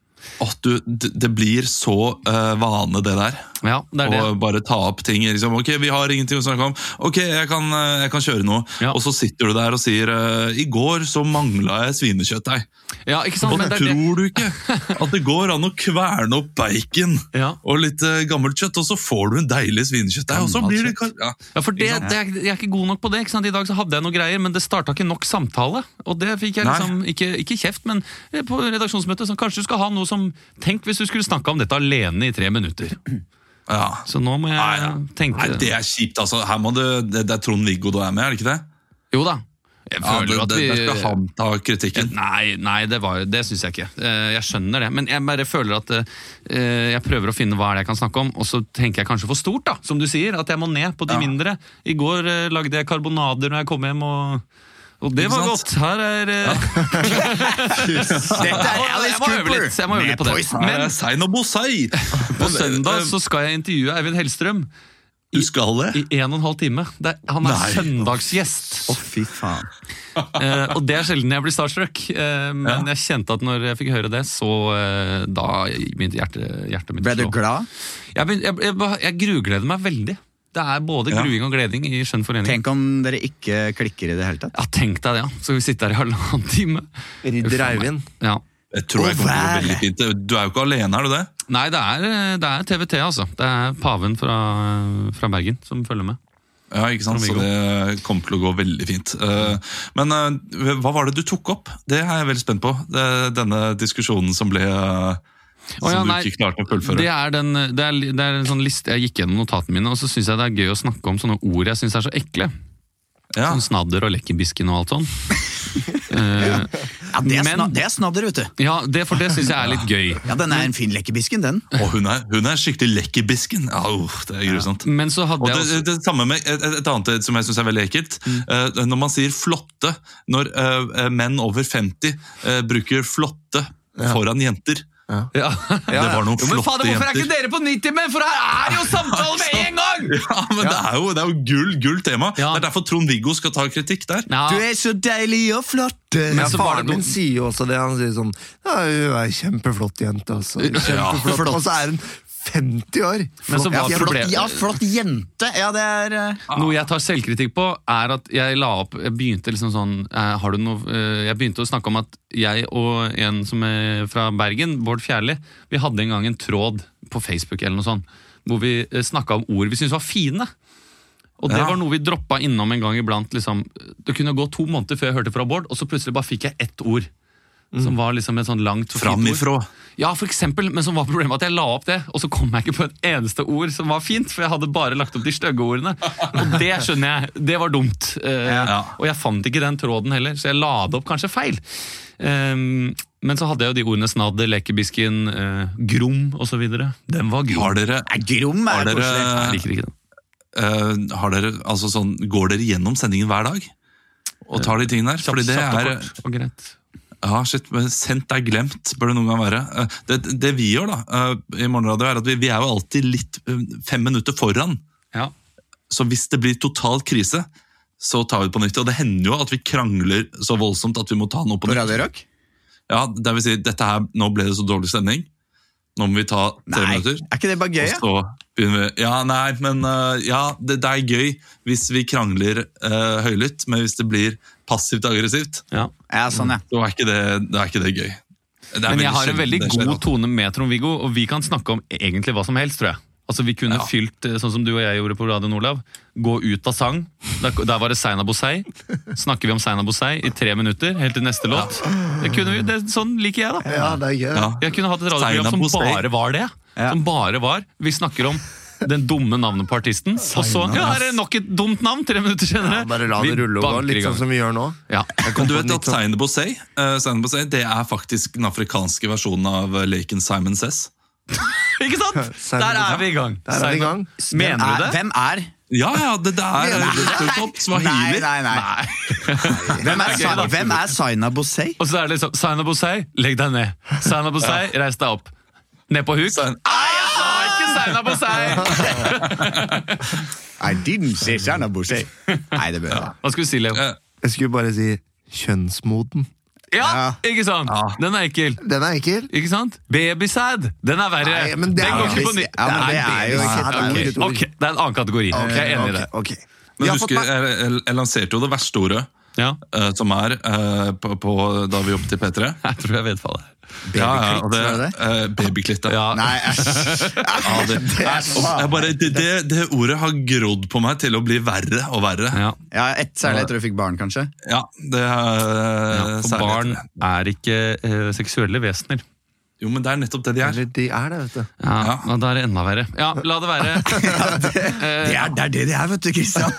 [SPEAKER 1] Åh, du, d- det blir så eh, vane, det der.
[SPEAKER 5] Ja, det er det.
[SPEAKER 1] og bare ta opp ting. Liksom. Ok, vi har ingenting å snakke om. Ok, jeg kan, eh, jeg kan kjøre noe.
[SPEAKER 5] Ja.
[SPEAKER 1] Og så sitter du der og sier eh, I går så mangla jeg svinekjøttdeig.
[SPEAKER 5] Ja, ikke sant?
[SPEAKER 1] Og
[SPEAKER 5] Men det er det.
[SPEAKER 1] tror du ikke at det går an å kverne opp bacon
[SPEAKER 5] Ja.
[SPEAKER 1] og litt eh, gammelt kjøtt, og så får du en deilig svinekjøttdeig, og så
[SPEAKER 3] Gammelt
[SPEAKER 1] blir det kar- ja.
[SPEAKER 5] Ja, for det,
[SPEAKER 1] Ikke sant?
[SPEAKER 5] det er, Jeg er ikke god nok på det. ikke sant? I dag så hadde jeg noen greier, men det starta ikke nok samtale. Og det fikk jeg
[SPEAKER 1] Nei.
[SPEAKER 5] liksom, ikke, ikke kjeft, men eh, på redaksjonsmøtet sånn, Kanskje du skal ha noe som Tenk hvis du skulle snakka om dette alene i tre minutter.
[SPEAKER 1] ja.
[SPEAKER 5] Så nå må jeg
[SPEAKER 1] Nei, ja.
[SPEAKER 5] tenke
[SPEAKER 1] Nei, det er kjipt, altså. Her må det, det, det er Trond-Viggo du er med, er det ikke det?
[SPEAKER 5] Jo da. Jeg
[SPEAKER 1] Ja,
[SPEAKER 5] føler
[SPEAKER 1] det,
[SPEAKER 5] at
[SPEAKER 1] det,
[SPEAKER 5] vi
[SPEAKER 1] der skal han ta kritikken.
[SPEAKER 5] Nei, nei, det, var- det syns jeg ikke. Eh, Jeg skjønner det. Men jeg bare føler at eh, jeg prøver å finne hva er det jeg kan snakke om, og så tenker jeg kanskje for stort, da. Som du sier, at jeg må ned på de
[SPEAKER 1] Ja.
[SPEAKER 5] mindre. I går eh, lagde jeg karbonader når jeg kom hjem, og, og det
[SPEAKER 1] Ikke
[SPEAKER 5] var
[SPEAKER 1] sant?
[SPEAKER 5] godt. Her er eh,
[SPEAKER 3] Dette er
[SPEAKER 5] Jeg
[SPEAKER 3] Alice
[SPEAKER 5] må øve
[SPEAKER 3] Cooper!
[SPEAKER 5] litt, jeg må øve litt på det.
[SPEAKER 1] Her
[SPEAKER 5] Men
[SPEAKER 1] er Sein og Bosei! eh,
[SPEAKER 5] på søndag så skal jeg intervjue Eivind Hellstrøm
[SPEAKER 1] Du skal eh, det?
[SPEAKER 5] i en og en halv time. Det er, han er
[SPEAKER 1] Nei.
[SPEAKER 5] søndagsgjest.
[SPEAKER 3] Å, fy faen.
[SPEAKER 5] Eh, og det er sjelden jeg blir starstruck, eh, men jeg kjente at når jeg fikk høre det, så eh, da begynte hjerte, hjertet mitt
[SPEAKER 3] Ble du
[SPEAKER 5] å slå.
[SPEAKER 3] glad?
[SPEAKER 5] Jeg, begyn- jeg, jeg, ba- jeg grugleder meg veldig. Det er både
[SPEAKER 1] Ja.
[SPEAKER 5] gruing og gleding i skjønn forening. Tenk.
[SPEAKER 3] Tenk om dere ikke klikker i det hele tatt.
[SPEAKER 5] Ja, tenk deg det, ja. Så vi sitter her i halvannen time. Uff,
[SPEAKER 4] Ridder
[SPEAKER 5] nei.
[SPEAKER 4] Eivind.
[SPEAKER 5] Ja.
[SPEAKER 1] Jeg tror jeg kommer til å
[SPEAKER 3] Å,
[SPEAKER 1] gå
[SPEAKER 3] være.
[SPEAKER 1] veldig fint. Du er jo ikke alene, er du det?
[SPEAKER 5] Nei, det er, eh, det er TVT, altså. Det er paven fra, fra Bergen som følger med.
[SPEAKER 1] Ja, ikke sant? Så
[SPEAKER 5] Trond-Viggo.
[SPEAKER 1] det kommer til å gå veldig fint. Eh, Men eh, hva var det du tok opp? Det er jeg veldig spent på. Det, denne diskusjonen som ble eh, Som
[SPEAKER 5] ja,
[SPEAKER 1] du
[SPEAKER 5] nei,
[SPEAKER 1] ikke klarte å
[SPEAKER 5] Det
[SPEAKER 1] fullføre.
[SPEAKER 5] er, den, det, er, li- det er en sånn liste Jeg gikk gjennom notatene mine, og så syns jeg det er gøy å snakke om sånne ord jeg syns er så ekle.
[SPEAKER 1] Ja.
[SPEAKER 5] Sånn snadder og lekkerbisken og alt sånn.
[SPEAKER 3] Ja, det er,
[SPEAKER 5] Men-
[SPEAKER 3] sna det er snadder, vet du.
[SPEAKER 5] Ja, det, for det syns jeg er litt gøy.
[SPEAKER 3] Ja, den er en fin lekkerbisken, den.
[SPEAKER 1] Og hun er, hun er skikkelig lekkerbisken! Au, det er grusomt.
[SPEAKER 5] Men så hadde
[SPEAKER 1] Og
[SPEAKER 5] jeg
[SPEAKER 1] det,
[SPEAKER 5] også Mm.
[SPEAKER 1] det, det samme med et, et annet som jeg syns er veldig ekkelt. Eh, når man sier flotte Når eh, menn over 50 eh, bruker flotte foran jenter.
[SPEAKER 5] ja.
[SPEAKER 1] Det var noen
[SPEAKER 5] Jo, men
[SPEAKER 1] flotte
[SPEAKER 5] fader, Hvorfor er
[SPEAKER 1] jenter.
[SPEAKER 5] ikke dere på 90 men? For her er jo samtale med en gang!
[SPEAKER 1] Ja, men Det er jo, det er jo gull, gull tema.
[SPEAKER 5] Ja.
[SPEAKER 1] Det er derfor Trond-Viggo skal ta kritikk der.
[SPEAKER 5] Ja,
[SPEAKER 3] Du er så deilig og flott! eh.
[SPEAKER 4] Men
[SPEAKER 5] Men så var det
[SPEAKER 4] faren
[SPEAKER 5] noen-
[SPEAKER 4] min sier jo også det. Han sier sånn Ja, hun er kjempeflott jente, altså. Kjempeflott.
[SPEAKER 3] flott.
[SPEAKER 4] Og så er hun 50 år.
[SPEAKER 5] Men så
[SPEAKER 4] Flott.
[SPEAKER 5] var
[SPEAKER 3] Ja, flott,
[SPEAKER 5] problemet-
[SPEAKER 3] ja, flott jente! Ja, det er eh,
[SPEAKER 5] Noe jeg tar selvkritikk på, er at jeg la opp Jeg begynte liksom sånn eh, Har du noe eh, Jeg begynte å snakke om at jeg og en som er fra Bergen, Bård Fjerli, vi hadde en gang en tråd på Facebook eller noe sånt, hvor vi snakka om ord vi syntes var fine. Og det
[SPEAKER 1] Ja.
[SPEAKER 5] var noe vi droppa innom en gang iblant. liksom Det kunne gå to måneder før jeg hørte fra Bård, og så plutselig bare fikk jeg ett ord. Som var liksom et sånn langt og fint ord.
[SPEAKER 1] Framifrå.
[SPEAKER 5] Ja, for eksempel, men som var problemet at jeg la opp det, og så kom jeg ikke på et eneste ord som var fint, for jeg hadde bare lagt opp de stygge ordene. Og det skjønner jeg, det var dumt. Eh,
[SPEAKER 1] Ja.
[SPEAKER 5] Og jeg fant ikke den tråden heller, så jeg la det opp kanskje feil. Ehm, men så hadde jeg jo de ordene snadder, lekebisken, eh, grom osv. Den var grom.
[SPEAKER 1] Har dere
[SPEAKER 3] Nei, Grom
[SPEAKER 1] Har
[SPEAKER 3] er
[SPEAKER 1] dere-
[SPEAKER 3] koselig.
[SPEAKER 5] Jeg liker ikke den.
[SPEAKER 1] Eh, har dere, altså sånn, går dere gjennom sendingen hver dag? Og tar de tingene der? Fordi det
[SPEAKER 5] Kjapt og
[SPEAKER 1] er
[SPEAKER 5] kort og greit.
[SPEAKER 1] ja, shit, men Sendt er glemt, bør det noen gang være. Eh, Det, det vi gjør da, eh, i Morgenradio, er at vi, vi er jo alltid litt eh, fem minutter foran.
[SPEAKER 5] Ja.
[SPEAKER 1] Så hvis det blir total krise, så tar vi det på nytt. Og det hender jo at vi krangler så voldsomt at vi må ta noe på
[SPEAKER 3] På
[SPEAKER 1] nytt.
[SPEAKER 3] Radio Rock?
[SPEAKER 1] Ja, det vil si, dette her, Nå ble det så dårlig stemning. Nå må vi ta tre
[SPEAKER 3] Nei,
[SPEAKER 1] minutter.
[SPEAKER 3] er ikke det bare gøy? Ja?
[SPEAKER 1] Og så begynner vi Ja, nei, men øh, ja, det, det er gøy hvis vi krangler øh, høylytt, men hvis det blir passivt aggressivt,
[SPEAKER 5] ja.
[SPEAKER 3] Ja, sånn, ja.
[SPEAKER 1] så er ikke det, det, er ikke det gøy. Det er
[SPEAKER 5] Men jeg
[SPEAKER 1] veldig
[SPEAKER 5] har en
[SPEAKER 1] sjelden
[SPEAKER 5] veldig
[SPEAKER 1] det skjer,
[SPEAKER 5] god
[SPEAKER 1] altså.
[SPEAKER 5] tone med Trond-Viggo, og vi kan snakke om egentlig hva som helst, tror jeg. Altså Vi kunne
[SPEAKER 1] Ja.
[SPEAKER 5] fylt, eh, sånn som du og jeg gjorde på Radio Olav, gå ut av sang. Der, der var det Seina Bosei. Snakker vi om Seina Bosei i tre minutter, helt til neste låt. Det kunne vi, det, sånn liker jeg, da.
[SPEAKER 4] Ja, det er gøy.
[SPEAKER 1] Ja.
[SPEAKER 5] Jeg kunne hatt et
[SPEAKER 1] Seina
[SPEAKER 5] radioprogram som
[SPEAKER 1] Bosei.
[SPEAKER 5] bare var det.
[SPEAKER 3] Ja.
[SPEAKER 5] Som bare var Vi snakker om den dumme navnet på artisten, og så ja, er det nok et dumt navn tre minutter senere.
[SPEAKER 4] Bare la det
[SPEAKER 5] Vi
[SPEAKER 4] rulle og gå,
[SPEAKER 5] banker i
[SPEAKER 4] litt
[SPEAKER 5] gang.
[SPEAKER 4] sånn som vi gjør nå.
[SPEAKER 5] ja.
[SPEAKER 1] Men du
[SPEAKER 4] på
[SPEAKER 1] vet
[SPEAKER 4] nytt
[SPEAKER 1] at
[SPEAKER 4] nå.
[SPEAKER 1] Seine Bosei, øh, Seine Bosei det er faktisk den afrikanske versjonen av øh, leken Simon Says.
[SPEAKER 5] Ikke sant?
[SPEAKER 4] Seina
[SPEAKER 5] Der er
[SPEAKER 4] Bosei.
[SPEAKER 5] vi i gang.
[SPEAKER 4] Der er vi i
[SPEAKER 5] Seina-
[SPEAKER 4] gang.
[SPEAKER 5] Mener du
[SPEAKER 3] Er,
[SPEAKER 5] det?
[SPEAKER 3] Eh, hvem er?
[SPEAKER 1] Ja, ja, det, det er
[SPEAKER 3] Nei.
[SPEAKER 1] det står ikke opp,
[SPEAKER 3] Nei,
[SPEAKER 1] swahili.
[SPEAKER 3] nei, nei. Hvem er,
[SPEAKER 5] gøy, da.
[SPEAKER 3] Sa- hvem er Saina Bosei?
[SPEAKER 5] Og så er det liksom Sign up seg, legg deg ned. Sign up seg, reis deg opp. Ned på huk.
[SPEAKER 1] Sign-
[SPEAKER 5] Nei, jeg sa ikke sign up seg!
[SPEAKER 3] I didn't say Saina Bosei. Nei, det bør jeg da.
[SPEAKER 5] Hva skulle du si, Leo?
[SPEAKER 1] Ja.
[SPEAKER 4] Jeg skulle bare si kjønnsmoden.
[SPEAKER 2] Ja,
[SPEAKER 3] Ja.
[SPEAKER 2] ikke sant?
[SPEAKER 3] Ja.
[SPEAKER 2] Den er ekkel.
[SPEAKER 4] Den er ekkel.
[SPEAKER 2] Ikke sant? Babysæd! Den er verre.
[SPEAKER 4] Nei, men det
[SPEAKER 2] den
[SPEAKER 4] er
[SPEAKER 2] går ikke
[SPEAKER 4] jo-
[SPEAKER 2] på nytt.
[SPEAKER 3] ja, men det er jo
[SPEAKER 2] babysæd.
[SPEAKER 4] ikke- det er jo ikke-
[SPEAKER 2] Ok, ok, det er en annen kategori. Jeg er enig i det.
[SPEAKER 4] Ok, ok.
[SPEAKER 1] Men
[SPEAKER 4] Jeg har
[SPEAKER 1] husker,
[SPEAKER 4] fått
[SPEAKER 1] eh,
[SPEAKER 4] meg-
[SPEAKER 1] jeg, jeg, jeg lanserte jo det verste ordet
[SPEAKER 2] Ja,
[SPEAKER 1] eh, som er eh, på, på, da vi jobbet i P3.
[SPEAKER 2] jeg tror jeg vet hva det er.
[SPEAKER 1] Ja, ja, og det,
[SPEAKER 3] var det
[SPEAKER 1] eh, babyklitt, ja.
[SPEAKER 2] Ja,
[SPEAKER 3] Nei, æsj.
[SPEAKER 1] Ja, det, jeg bare, det, det, det ordet har grodd på meg til å bli verre og verre.
[SPEAKER 2] ja.
[SPEAKER 3] Ja, et, særlig etter du fikk barn, kanskje.
[SPEAKER 1] Ja, det er
[SPEAKER 2] ja.
[SPEAKER 1] eh,
[SPEAKER 2] For
[SPEAKER 1] særlig-
[SPEAKER 2] barn er ikke eh, seksuelle vesener.
[SPEAKER 1] Jo, men det er nettopp det de er.
[SPEAKER 4] Eller de er det, vet du.
[SPEAKER 2] Ja,
[SPEAKER 1] Ja.
[SPEAKER 2] men Da er det enda verre. Ja, la det være.
[SPEAKER 3] Det er det er det de er, vet du, Kristian.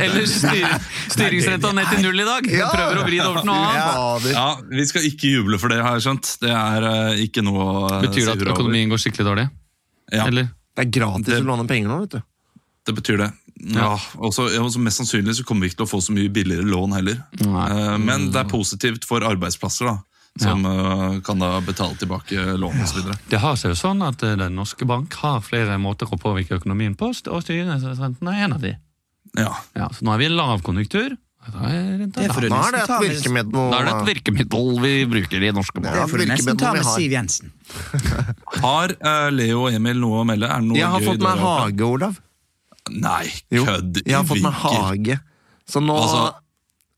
[SPEAKER 2] Ellers styr, styringsrenta ned til null i dag. Vi
[SPEAKER 4] Ja.
[SPEAKER 2] prøver å vri det over til noe annet.
[SPEAKER 4] Fader.
[SPEAKER 1] Ja, Vi skal ikke juble for det, har jeg skjønt. Det er eh, ikke noe å eh,
[SPEAKER 2] Betyr det
[SPEAKER 1] si
[SPEAKER 2] at
[SPEAKER 1] hurra over.
[SPEAKER 2] økonomien går skikkelig dårlig?
[SPEAKER 1] Ja,
[SPEAKER 2] Eller?
[SPEAKER 4] Det er gratis
[SPEAKER 1] Det-
[SPEAKER 4] å låne penger nå, vet du.
[SPEAKER 1] det betyr det. Ja, og så- ja, og så Mest sannsynlig så kommer vi ikke til å få så mye billigere lån heller.
[SPEAKER 2] Nei.
[SPEAKER 1] Eh, Men det er positivt for arbeidsplasser, da. Som eh, kan da betale tilbake lån osv.
[SPEAKER 2] Det har seg jo sånn at eh, Den norske bank har flere måter å påvirke økonomien på, st- og styringsrenten er en av de.
[SPEAKER 1] Ja.
[SPEAKER 2] Ja, så nå er vi i lavkonjunktur. Da er renta
[SPEAKER 3] Det er
[SPEAKER 2] lav.
[SPEAKER 3] forunderlig.
[SPEAKER 4] Nå er det et
[SPEAKER 3] Ta med-
[SPEAKER 4] virkemiddel.
[SPEAKER 2] Da er det et virkemiddel vi bruker i norske
[SPEAKER 4] Ja,
[SPEAKER 2] bank.
[SPEAKER 3] Det får du nesten ta med
[SPEAKER 4] virkemiddel vi
[SPEAKER 3] Siv Jensen.
[SPEAKER 1] Har eh, Leo og Emil noe å melde? Er det noe
[SPEAKER 4] Jeg har
[SPEAKER 1] gøy
[SPEAKER 4] fått meg
[SPEAKER 1] dere har-
[SPEAKER 4] hage, Olav.
[SPEAKER 1] Nei,
[SPEAKER 4] Jo,
[SPEAKER 1] kødd!
[SPEAKER 4] jeg har fått meg
[SPEAKER 1] Viker.
[SPEAKER 4] hage. Så nå
[SPEAKER 1] Altså,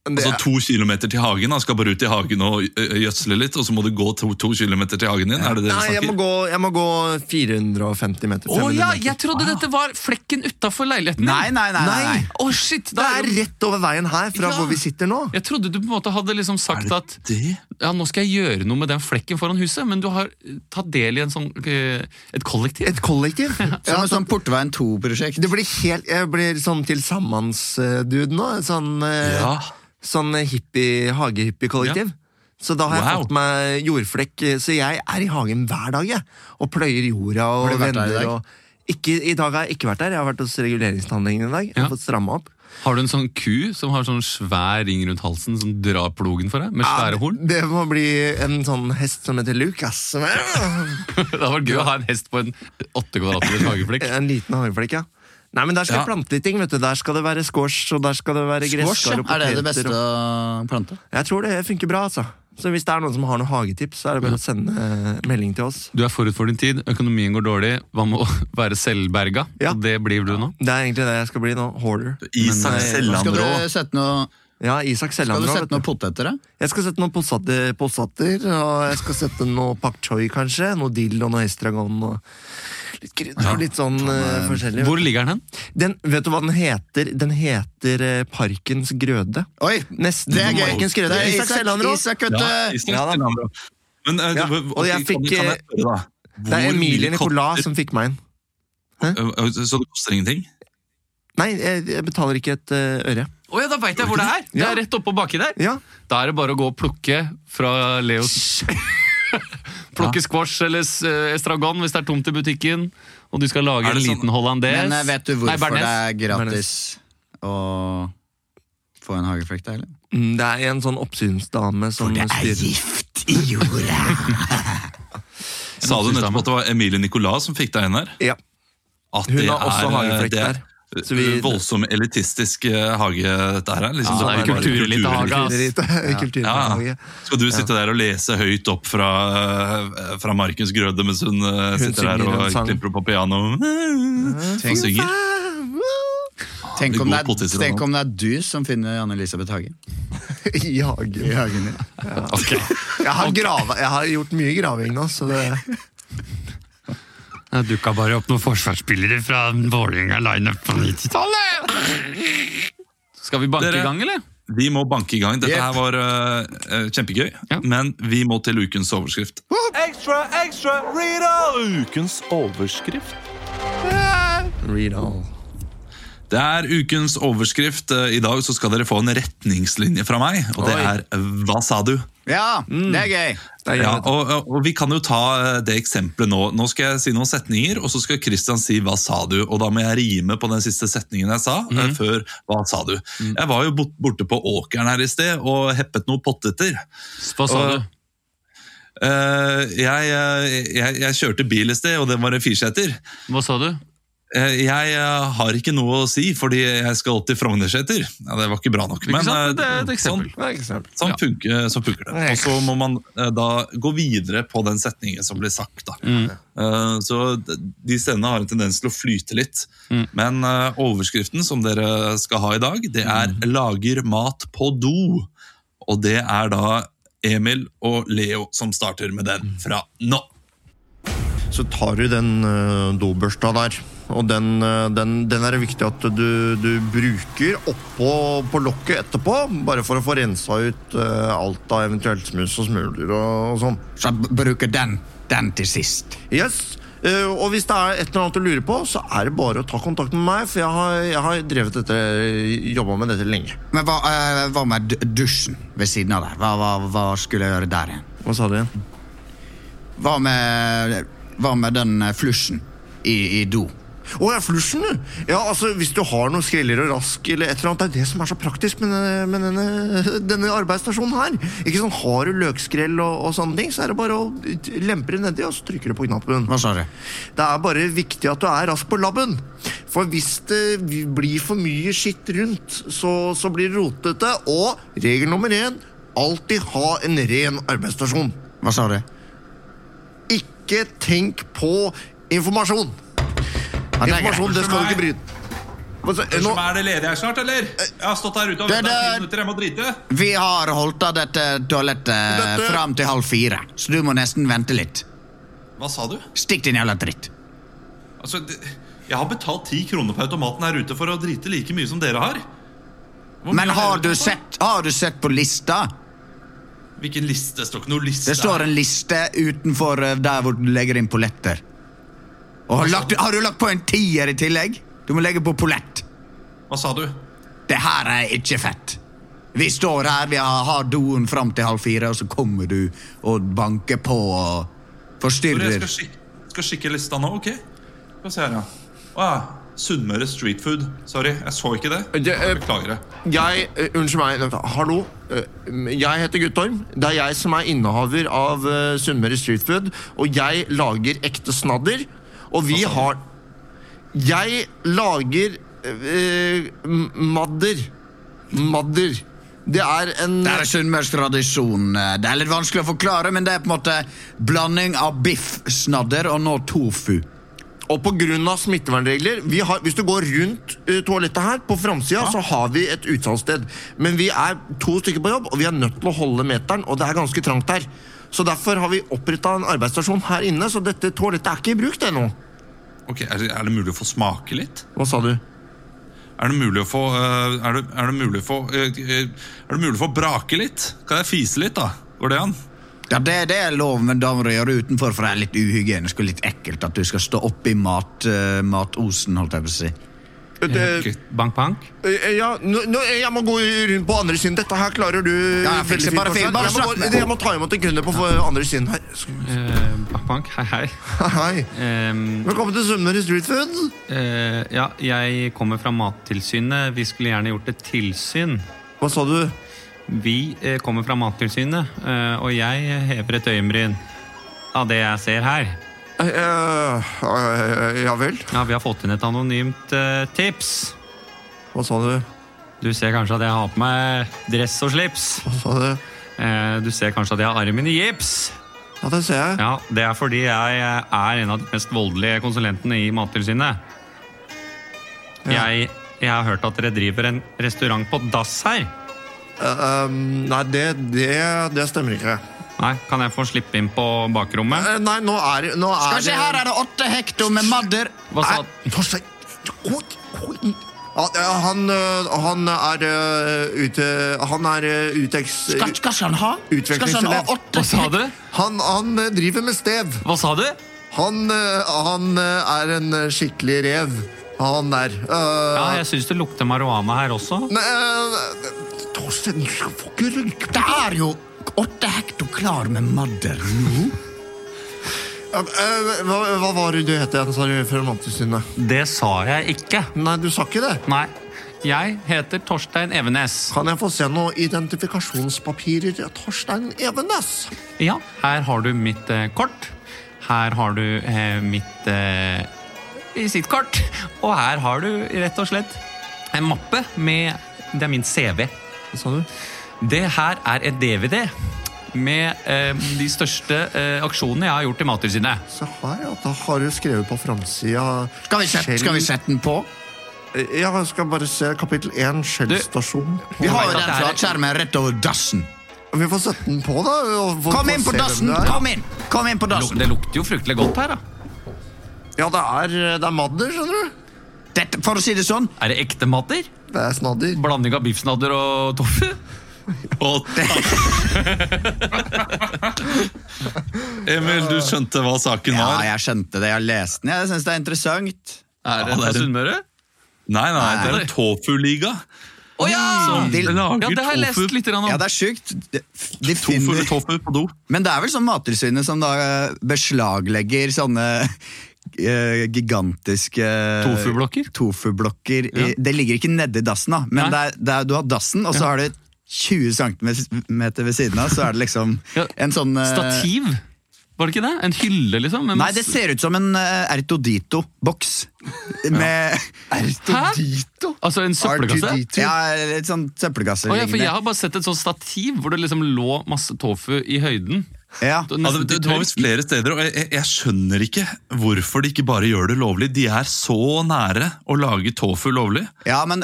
[SPEAKER 4] det,
[SPEAKER 1] Altså to kilometer til hagen, da. skal bare ut i hagen og ø, ø, gjødsle litt, og så må du gå to, to kilometer til hagen din? Er det det
[SPEAKER 4] Nei,
[SPEAKER 1] vi
[SPEAKER 4] jeg må,
[SPEAKER 1] snakker?
[SPEAKER 4] gå, jeg må gå 450 meter.
[SPEAKER 2] Å
[SPEAKER 4] 500
[SPEAKER 2] ja,
[SPEAKER 4] meter.
[SPEAKER 2] jeg trodde dette var flekken utafor leiligheten
[SPEAKER 3] Nei, nei, nei. nei. nei.
[SPEAKER 2] Å, shit!
[SPEAKER 4] Det
[SPEAKER 2] Da er
[SPEAKER 4] er rett over veien her fra
[SPEAKER 2] Ja.
[SPEAKER 4] hvor vi sitter nå.
[SPEAKER 2] jeg trodde du på en måte hadde liksom sagt at
[SPEAKER 1] Det?
[SPEAKER 2] ja, nå skal jeg gjøre noe med den flekken foran huset, men du har eh, tatt del i en sånn, eh, et kollektiv.
[SPEAKER 4] Et kollektiv. Ja,
[SPEAKER 3] Som et
[SPEAKER 4] så
[SPEAKER 3] sånn Portveien 2-prosjekt.
[SPEAKER 4] det blir helt, jeg blir sånn tilsammens-dude nå. Sånn, eh,
[SPEAKER 1] Ja.
[SPEAKER 4] sånn hippie, hagehippie-kollektiv. Så da har jeg
[SPEAKER 1] Wow.
[SPEAKER 4] fått meg jordflekk, så jeg er i hagen hver dag. Jeg, og pløyer jorda og
[SPEAKER 3] Har du vært der i
[SPEAKER 4] venner.
[SPEAKER 3] dag?
[SPEAKER 4] og ikke, I dag har jeg ikke vært der. Jeg har vært hos reguleringstannlegen i dag. Jeg
[SPEAKER 2] Ja.
[SPEAKER 4] har fått stramma opp.
[SPEAKER 2] Har du en sånn ku som har sånn svær ring rundt halsen som drar plogen for deg, med svære horn?
[SPEAKER 4] Ja, Ah, det må bli en sånn hest som heter Lucas. som er-
[SPEAKER 2] Det hadde vært gøy å ha en hest på en åtte kvadratmeters hageflekk.
[SPEAKER 4] En liten hageflekk, ja. Nei, men Der skal
[SPEAKER 1] Ja.
[SPEAKER 4] jeg plante litt ting. vet du. Der skal det være squash og der skal det være
[SPEAKER 3] Squash,
[SPEAKER 4] gresskar
[SPEAKER 3] ja.
[SPEAKER 4] og
[SPEAKER 3] Er det
[SPEAKER 4] poteter.
[SPEAKER 3] det beste
[SPEAKER 4] og-
[SPEAKER 3] å plante?
[SPEAKER 4] Jeg tror det funker bra. altså. Så Hvis det er noen som har noen hagetips, så er det bare å sende eh, melding til oss.
[SPEAKER 2] Du er forut for din tid, økonomien går dårlig, hva med å være selvberga?
[SPEAKER 4] Ja.
[SPEAKER 2] Og det blir du nå.
[SPEAKER 4] Det er egentlig det jeg skal bli nå. Hoarder.
[SPEAKER 1] Isak
[SPEAKER 4] Men, eh,
[SPEAKER 3] Skal
[SPEAKER 1] Selland
[SPEAKER 3] du
[SPEAKER 1] Rå.
[SPEAKER 3] sette noe,
[SPEAKER 4] Ja, Isak
[SPEAKER 3] skal
[SPEAKER 4] Selland.
[SPEAKER 3] du
[SPEAKER 4] nå,
[SPEAKER 3] sette
[SPEAKER 4] vet
[SPEAKER 3] noe
[SPEAKER 4] du.
[SPEAKER 3] poteter, da?
[SPEAKER 4] Jeg skal sette noen possatter, possatter, og jeg skal sette noe pak choi, kanskje. Noe dill og noe estragon og litt krydder og litt sånn eh, forskjellig.
[SPEAKER 2] Hvor ligger den hen?
[SPEAKER 4] Den, vet du hva den heter? Den heter eh, Parkens grøde.
[SPEAKER 3] Oi!
[SPEAKER 4] Nesten
[SPEAKER 3] Det er
[SPEAKER 4] som
[SPEAKER 3] gøy!
[SPEAKER 4] Markens grøde.
[SPEAKER 3] Det er
[SPEAKER 4] Isak Selland Rå.
[SPEAKER 3] Isak, vet
[SPEAKER 1] Ja,
[SPEAKER 3] du.
[SPEAKER 1] Isak
[SPEAKER 4] Ja, da.
[SPEAKER 1] Selland Rå. Men eh,
[SPEAKER 4] Ja,
[SPEAKER 1] hvor-
[SPEAKER 4] og jeg
[SPEAKER 1] kan-
[SPEAKER 4] fikk, eh,
[SPEAKER 1] kan jeg spørre, da?
[SPEAKER 4] Det
[SPEAKER 1] Hvor
[SPEAKER 4] er Emilie
[SPEAKER 1] mye koster-
[SPEAKER 4] Nicolas som fikk meg inn.
[SPEAKER 1] Ø, ø, Så det koster ingenting?
[SPEAKER 4] Nei, jeg, jeg betaler ikke et eh, øre.
[SPEAKER 2] Å ja, da veit jeg hvor det er! Det
[SPEAKER 4] Ja.
[SPEAKER 2] er rett oppå baki der.
[SPEAKER 4] Ja,
[SPEAKER 2] Da er det bare å gå og plukke fra Leos Plukke squash eller s- eh, estragon hvis det er tomt i butikken, og du skal lage
[SPEAKER 1] Er
[SPEAKER 2] en
[SPEAKER 1] det sånn-
[SPEAKER 2] liten hollandes.
[SPEAKER 3] Men eh, vet du
[SPEAKER 2] Nei,
[SPEAKER 3] hvorfor det
[SPEAKER 2] bearnés.
[SPEAKER 3] er gratis å få en hageflekk, da? eller?
[SPEAKER 4] Mm, Det er en sånn oppsynsdame som styrer
[SPEAKER 3] gift i jorda!
[SPEAKER 1] Sa du nettopp at det var Emilie Nicolas som fikk deg inn her?
[SPEAKER 4] ja,
[SPEAKER 1] At
[SPEAKER 4] Hun
[SPEAKER 1] det
[SPEAKER 4] har også
[SPEAKER 1] er, eh,
[SPEAKER 4] hageflekk
[SPEAKER 1] det er,
[SPEAKER 4] der. Så vi-
[SPEAKER 1] ø, Voldsom elitistisk eh, hage, dette her. Liksom,
[SPEAKER 2] Ja, det
[SPEAKER 1] bare
[SPEAKER 2] er kulturelite
[SPEAKER 1] kulturelite.
[SPEAKER 2] hage, ass.
[SPEAKER 4] Kulturelite- kulturelite.
[SPEAKER 1] Ja. Skal du sitte der og lese høyt opp fra, eh, fra Markens grøde mens hun, eh, sitter
[SPEAKER 4] synger
[SPEAKER 1] der
[SPEAKER 4] en
[SPEAKER 1] og
[SPEAKER 4] sang.
[SPEAKER 1] klipper på piano og
[SPEAKER 3] Tenk,
[SPEAKER 1] synger?
[SPEAKER 3] tenk, om
[SPEAKER 1] God
[SPEAKER 3] det er,
[SPEAKER 1] poteter,
[SPEAKER 3] tenk om det er du som finner Anne-Elisabeth Hagen.
[SPEAKER 4] I hagen.
[SPEAKER 3] I hagen din.
[SPEAKER 2] Ok.
[SPEAKER 4] Jeg har, grava, jeg har gjort mye graving nå, så det
[SPEAKER 2] Jeg dukka bare opp noen forsvarsspillere fra Vålerenga lineup på 90-tallet! Skal vi banke
[SPEAKER 1] Dere-
[SPEAKER 2] i gang, eller?
[SPEAKER 1] Vi må banke i gang. Dette
[SPEAKER 3] Yep.
[SPEAKER 1] her var eh, eh, kjempegøy,
[SPEAKER 2] Ja.
[SPEAKER 1] men vi må til ukens overskrift.
[SPEAKER 6] Ekstra, ekstra, read all! Ukens overskrift.
[SPEAKER 4] Read all.
[SPEAKER 1] Det er ukens overskrift. Eh, I dag så skal dere få en retningslinje fra meg, og det
[SPEAKER 4] Oi.
[SPEAKER 1] er eh, 'Hva sa du?'
[SPEAKER 3] Ja, det er gøy!
[SPEAKER 4] Det er
[SPEAKER 1] Ja,
[SPEAKER 4] greit.
[SPEAKER 1] og, og vi kan jo ta eh, det eksempelet nå. Nå skal jeg si noen setninger, og så skal Christian si 'hva sa du?' Og da må jeg rime på den siste setningen jeg sa, eh, før 'hva sa du?' Jeg var jo bort- borte på åkeren her i sted og heppet noen potteter.
[SPEAKER 2] Hva sa
[SPEAKER 1] Og-
[SPEAKER 2] du?
[SPEAKER 1] Eh, jeg, eh, jeg, jeg kjørte bil i sted, og det var en firseter.
[SPEAKER 2] Hva sa du?
[SPEAKER 1] Eh, Jeg eh, har ikke noe å si, fordi jeg skal opp til Frognerseter. Ja, det var ikke bra nok.
[SPEAKER 2] Ikke sant?
[SPEAKER 1] eh,
[SPEAKER 2] Det er et eksempel.
[SPEAKER 1] Sånn,
[SPEAKER 4] Det er ikke sant.
[SPEAKER 1] sånn
[SPEAKER 2] Ja.
[SPEAKER 1] funker, så funker det. Og så må man eh, da gå videre på den setningen som blir sagt. Da.
[SPEAKER 2] Mm.
[SPEAKER 1] Eh, Så d- de stedene har en tendens til å flyte litt.
[SPEAKER 2] Mm.
[SPEAKER 1] Men eh, overskriften som dere skal ha i dag, det
[SPEAKER 2] Mm.
[SPEAKER 1] er 'lager mat på do'. Og det er da Emil og Leo som starter med den
[SPEAKER 2] Mm.
[SPEAKER 1] fra nå.
[SPEAKER 4] Så tar du den eh, dobørsta der, og den, eh, den, den er det viktig at du, du bruker oppå på lokket etterpå, bare for å få rensa ut eh, alt av eventuelt smus og smuler og, og sånn.
[SPEAKER 3] Så b- bruker den, den til sist.
[SPEAKER 4] Yes. Eh, og hvis det er et eller annet du lurer på, så er det bare å ta kontakt med meg, for jeg har, jeg har drevet dette, jobba med dette lenge.
[SPEAKER 3] Men hva, eh, hva med d- dusjen ved siden av der? Hva, hva, hva skulle jeg gjøre der igjen?
[SPEAKER 4] Hva sa du igjen?
[SPEAKER 3] Hva med, hva med den eh, flusjen i, i do?
[SPEAKER 4] Å, ja, flusjen, du! Ja, altså, hvis du har noen skreller og rask eller et eller annet, det er det som er så praktisk med, denne- med denne, denne arbeidsstasjonen her. Ikke sånn, Har du løkskrell og, og sånne ting, så er det bare å lempe det nedi, og så trykker du på knappen.
[SPEAKER 3] Hva sa du?
[SPEAKER 4] Det er bare viktig at du er rask på labben. For hvis det blir for mye skitt rundt, så, så blir det rotete. Og regel nummer én alltid ha en ren arbeidsstasjon.
[SPEAKER 3] Hva sa du?
[SPEAKER 4] Ikke tenk på informasjon.
[SPEAKER 3] Ja, det er greit.
[SPEAKER 4] Informasjon, det skal du ikke bryte. Hva sa-
[SPEAKER 1] Nå...
[SPEAKER 4] Nå,
[SPEAKER 1] Er det ledig her snart, eller? Jeg har stått her ute og
[SPEAKER 3] Det
[SPEAKER 1] ventet i
[SPEAKER 3] der-
[SPEAKER 1] ti minutter. Jeg må drite.
[SPEAKER 3] Vi har holdt av dette toalettet
[SPEAKER 4] Dette-
[SPEAKER 3] fram til halv fire, så du må nesten vente litt.
[SPEAKER 1] Hva sa du?
[SPEAKER 3] Stikk din jævla dritt.
[SPEAKER 1] Altså, det, jeg har betalt ti kroner på automaten her ute for å drite like mye som dere har. Hvor mye
[SPEAKER 3] Men
[SPEAKER 1] har
[SPEAKER 3] har
[SPEAKER 1] dere
[SPEAKER 3] du
[SPEAKER 1] betalt?
[SPEAKER 3] sett, har du sett på lista?
[SPEAKER 1] Hvilken liste? Det står ikke noe liste
[SPEAKER 3] Det står
[SPEAKER 1] her.
[SPEAKER 3] en liste utenfor eh, der hvor du legger inn polletter. Og har, lagt, har du lagt på en tier i tillegg? Du må legge på pollett.
[SPEAKER 1] Hva sa du?
[SPEAKER 3] Det her er ikke fett. Vi står her, vi har, har doen fram til halv fire, og så kommer du og banker på og
[SPEAKER 1] Når jeg
[SPEAKER 3] forstyrrer.
[SPEAKER 1] skal, skik skal skikke lista nå, ok? Skal vi se her, ja. Å ja. Sunnmøre Street Food. Sorry, jeg så ikke det.
[SPEAKER 4] Det, eh,
[SPEAKER 1] Beklager det.
[SPEAKER 4] jeg, eh, Unnskyld meg. vent, Hallo. Eh, Jeg heter Guttorm. Det er jeg som er innehaver av eh, Sunnmøre Street Food. Og jeg lager ekte snadder. Og vi har Jeg lager eh, m- madder. Madder. Det er en
[SPEAKER 3] Det er sunnmørstradisjon. eh, Det er litt vanskelig å forklare, men det er på en måte blanding av biff, snadder og nå tofu.
[SPEAKER 4] Og pga. smittevernregler vi har, Hvis du går rundt eh, toalettet her, på framsida, så har vi et utsalgssted. Men vi er to stykker på jobb, og vi er nødt til å holde meteren, og det er ganske trangt her. Så derfor har vi oppretta en arbeidsstasjon her inne, så dette toalettet er ikke i bruk ennå.
[SPEAKER 1] Ok, er, det- er det mulig å få smake litt?
[SPEAKER 4] Hva sa du?
[SPEAKER 1] Er det mulig å få eh, Er det, er det mulig å få eh, eh, Er det mulig å få brake litt? Kan jeg fise litt, da? Går det an?
[SPEAKER 3] Ja, det, det er lov, men da må du gjøre det utenfor, for det er litt uhygienisk og litt ekkelt at du skal stå oppi mat, eh, matosen, holdt jeg på å si.
[SPEAKER 4] Eh, Det,
[SPEAKER 2] Bank, bank.
[SPEAKER 4] eh, ja, nå, nå, jeg må gå rundt på andre siden. Dette her klarer du
[SPEAKER 3] Ja, jeg fikser
[SPEAKER 4] veldig fint,
[SPEAKER 3] bare fint. Bare
[SPEAKER 4] Torstein. Jeg må
[SPEAKER 3] snakk med
[SPEAKER 4] gå-
[SPEAKER 3] meg.
[SPEAKER 4] Jeg må ta imot en kunde på for andre siden her. Skal vi-
[SPEAKER 2] Eh, bank, bank. Hei, hei.
[SPEAKER 4] Hei.
[SPEAKER 2] Ehm,
[SPEAKER 4] Velkommen til Sunnmøre Street Food.
[SPEAKER 2] eh, ja, jeg kommer fra Mattilsynet. Vi skulle gjerne gjort et tilsyn.
[SPEAKER 4] Hva sa du?
[SPEAKER 2] Vi eh, kommer fra Mattilsynet, eh, og jeg hever et øyenbryn av det jeg ser her.
[SPEAKER 4] Eh, eh, eh, ja vel?
[SPEAKER 2] Ja, Vi har fått inn et anonymt eh, tips.
[SPEAKER 4] Hva sa du?
[SPEAKER 2] Du ser kanskje at jeg har på meg dress og slips.
[SPEAKER 4] Hva sa du?
[SPEAKER 2] Eh, du ser kanskje at jeg har armen i gips.
[SPEAKER 4] Ja, det ser jeg.
[SPEAKER 2] Ja, Det er fordi jeg eh, er en av de mest voldelige konsulentene i Mattilsynet.
[SPEAKER 4] Ja.
[SPEAKER 2] Jeg, jeg har hørt at dere driver en restaurant på dass her.
[SPEAKER 4] Eh, um, nei, det, det, det stemmer ikke.
[SPEAKER 2] Nei, Kan jeg få slippe inn på bakrommet?
[SPEAKER 4] Eh, nei, nå er, nå er
[SPEAKER 3] Skal vi se, her er det åtte hekto med madder.
[SPEAKER 2] Hva sa
[SPEAKER 4] Nei, Torstein! Oi, oi. Ja, eh, Han, eh, han er eh, ute Han er eh, uteks...
[SPEAKER 3] Skal, skal han ha? Skal han ha
[SPEAKER 4] Utvekslingselev.
[SPEAKER 3] åtte
[SPEAKER 2] Hva sa du?
[SPEAKER 4] Han, han eh, driver med stev.
[SPEAKER 2] Hva sa du?
[SPEAKER 4] Han, eh, han eh, er en eh, skikkelig rev. Han der. Eh,
[SPEAKER 2] Ja, Jeg syns det lukter marihuana her også.
[SPEAKER 4] Nei, eh, Torstein, du får ikke røyke
[SPEAKER 3] Det er jo åtte hekto klar med madder nå.
[SPEAKER 4] Ja, eh, hva, hva var det du het igjen, sa du, fra Mattilsynet?
[SPEAKER 2] Det sa jeg ikke.
[SPEAKER 4] Nei, du sa ikke det.
[SPEAKER 2] Nei. Jeg heter Torstein Evenes.
[SPEAKER 4] Kan jeg få se noen identifikasjonspapirer til Torstein Evenes?
[SPEAKER 2] Ja, her har du mitt eh, kort. Her har du eh, mitt eh, visittkort. Og her har du rett og slett en mappe med Det er min CV.
[SPEAKER 4] Sa du?
[SPEAKER 2] Det her er et DVD med eh, de største eh, aksjonene jeg har gjort i Mattilsynet.
[SPEAKER 4] Se her, ja. Da har du skrevet på framsida
[SPEAKER 3] Skal vi, sette, skal vi sette den på?
[SPEAKER 4] Ja, jeg skal bare se kapittel 1, Skjellstasjon.
[SPEAKER 3] Vi har jo
[SPEAKER 2] vet at
[SPEAKER 3] den
[SPEAKER 2] det er-
[SPEAKER 3] flatskjermen rett over dassen.
[SPEAKER 4] Vi får sette den på, da. og hvor-
[SPEAKER 3] Kom inn
[SPEAKER 4] hvor
[SPEAKER 3] på
[SPEAKER 4] ser
[SPEAKER 3] dassen!
[SPEAKER 4] hvem det er.
[SPEAKER 3] Kom inn Kom inn på
[SPEAKER 2] Lu-
[SPEAKER 3] dassen!
[SPEAKER 2] Altså, Det lukter jo fryktelig godt her, da.
[SPEAKER 4] Ja, det er, eh, det er madder, skjønner du.
[SPEAKER 3] Dette, for å si det sånn,
[SPEAKER 2] Er det ekte mater?
[SPEAKER 4] Det er snadder.
[SPEAKER 2] Blanding av biffsnadder og tofu?
[SPEAKER 1] Og Emil, du skjønte hva saken
[SPEAKER 3] Ja,
[SPEAKER 1] var?
[SPEAKER 3] jeg skjønte det. Jeg har lest den. Jeg syns det er interessant.
[SPEAKER 2] Er det
[SPEAKER 1] Ja, det er
[SPEAKER 2] fra
[SPEAKER 1] det.
[SPEAKER 2] Sunnmøre?
[SPEAKER 1] Nei, nei, det er en Tofu-liga.
[SPEAKER 2] Å ja! Sånn.
[SPEAKER 1] Som
[SPEAKER 3] de-
[SPEAKER 1] lager
[SPEAKER 2] Ja, det har jeg
[SPEAKER 1] tofu.
[SPEAKER 2] lest litt grann
[SPEAKER 3] Mm. Ja,
[SPEAKER 2] om.
[SPEAKER 3] det er sjukt. De, de
[SPEAKER 1] Tofu,
[SPEAKER 3] finner
[SPEAKER 1] tofu på do.
[SPEAKER 3] Men det er vel sånn Mattilsynet som da eh, beslaglegger sånne eh, gigantiske
[SPEAKER 2] Tofublokker?
[SPEAKER 3] Tofublokker. i-
[SPEAKER 2] Ja.
[SPEAKER 3] Det ligger ikke nedi dassen, da, men
[SPEAKER 2] Nei.
[SPEAKER 3] det er, det er, du har dassen, og så har du 20 cm ved siden av, så er det liksom
[SPEAKER 2] Ja.
[SPEAKER 3] en sånn eh,
[SPEAKER 2] Stativ? Var det ikke det? En hylle, liksom? med
[SPEAKER 3] Nei,
[SPEAKER 2] masse-
[SPEAKER 3] det ser ut som en eh, Ertodito-boks. Med
[SPEAKER 4] Ertodito?
[SPEAKER 2] Altså en søppelkasse?
[SPEAKER 4] R2D2.
[SPEAKER 3] ja, litt sånn søppelkasse
[SPEAKER 2] Å ja, for jeg
[SPEAKER 3] liggende.
[SPEAKER 2] har bare sett et sånt stativ hvor det liksom lå masse tofu i høyden.
[SPEAKER 3] Ja.
[SPEAKER 2] Det var
[SPEAKER 1] Altså,
[SPEAKER 2] nesten
[SPEAKER 1] det,
[SPEAKER 2] til
[SPEAKER 1] det var
[SPEAKER 2] tørk.
[SPEAKER 1] visst flere steder, og jeg, jeg- jeg skjønner ikke hvorfor de ikke bare gjør det lovlig. De er så nære å lage tofu lovlig.
[SPEAKER 3] Ja, men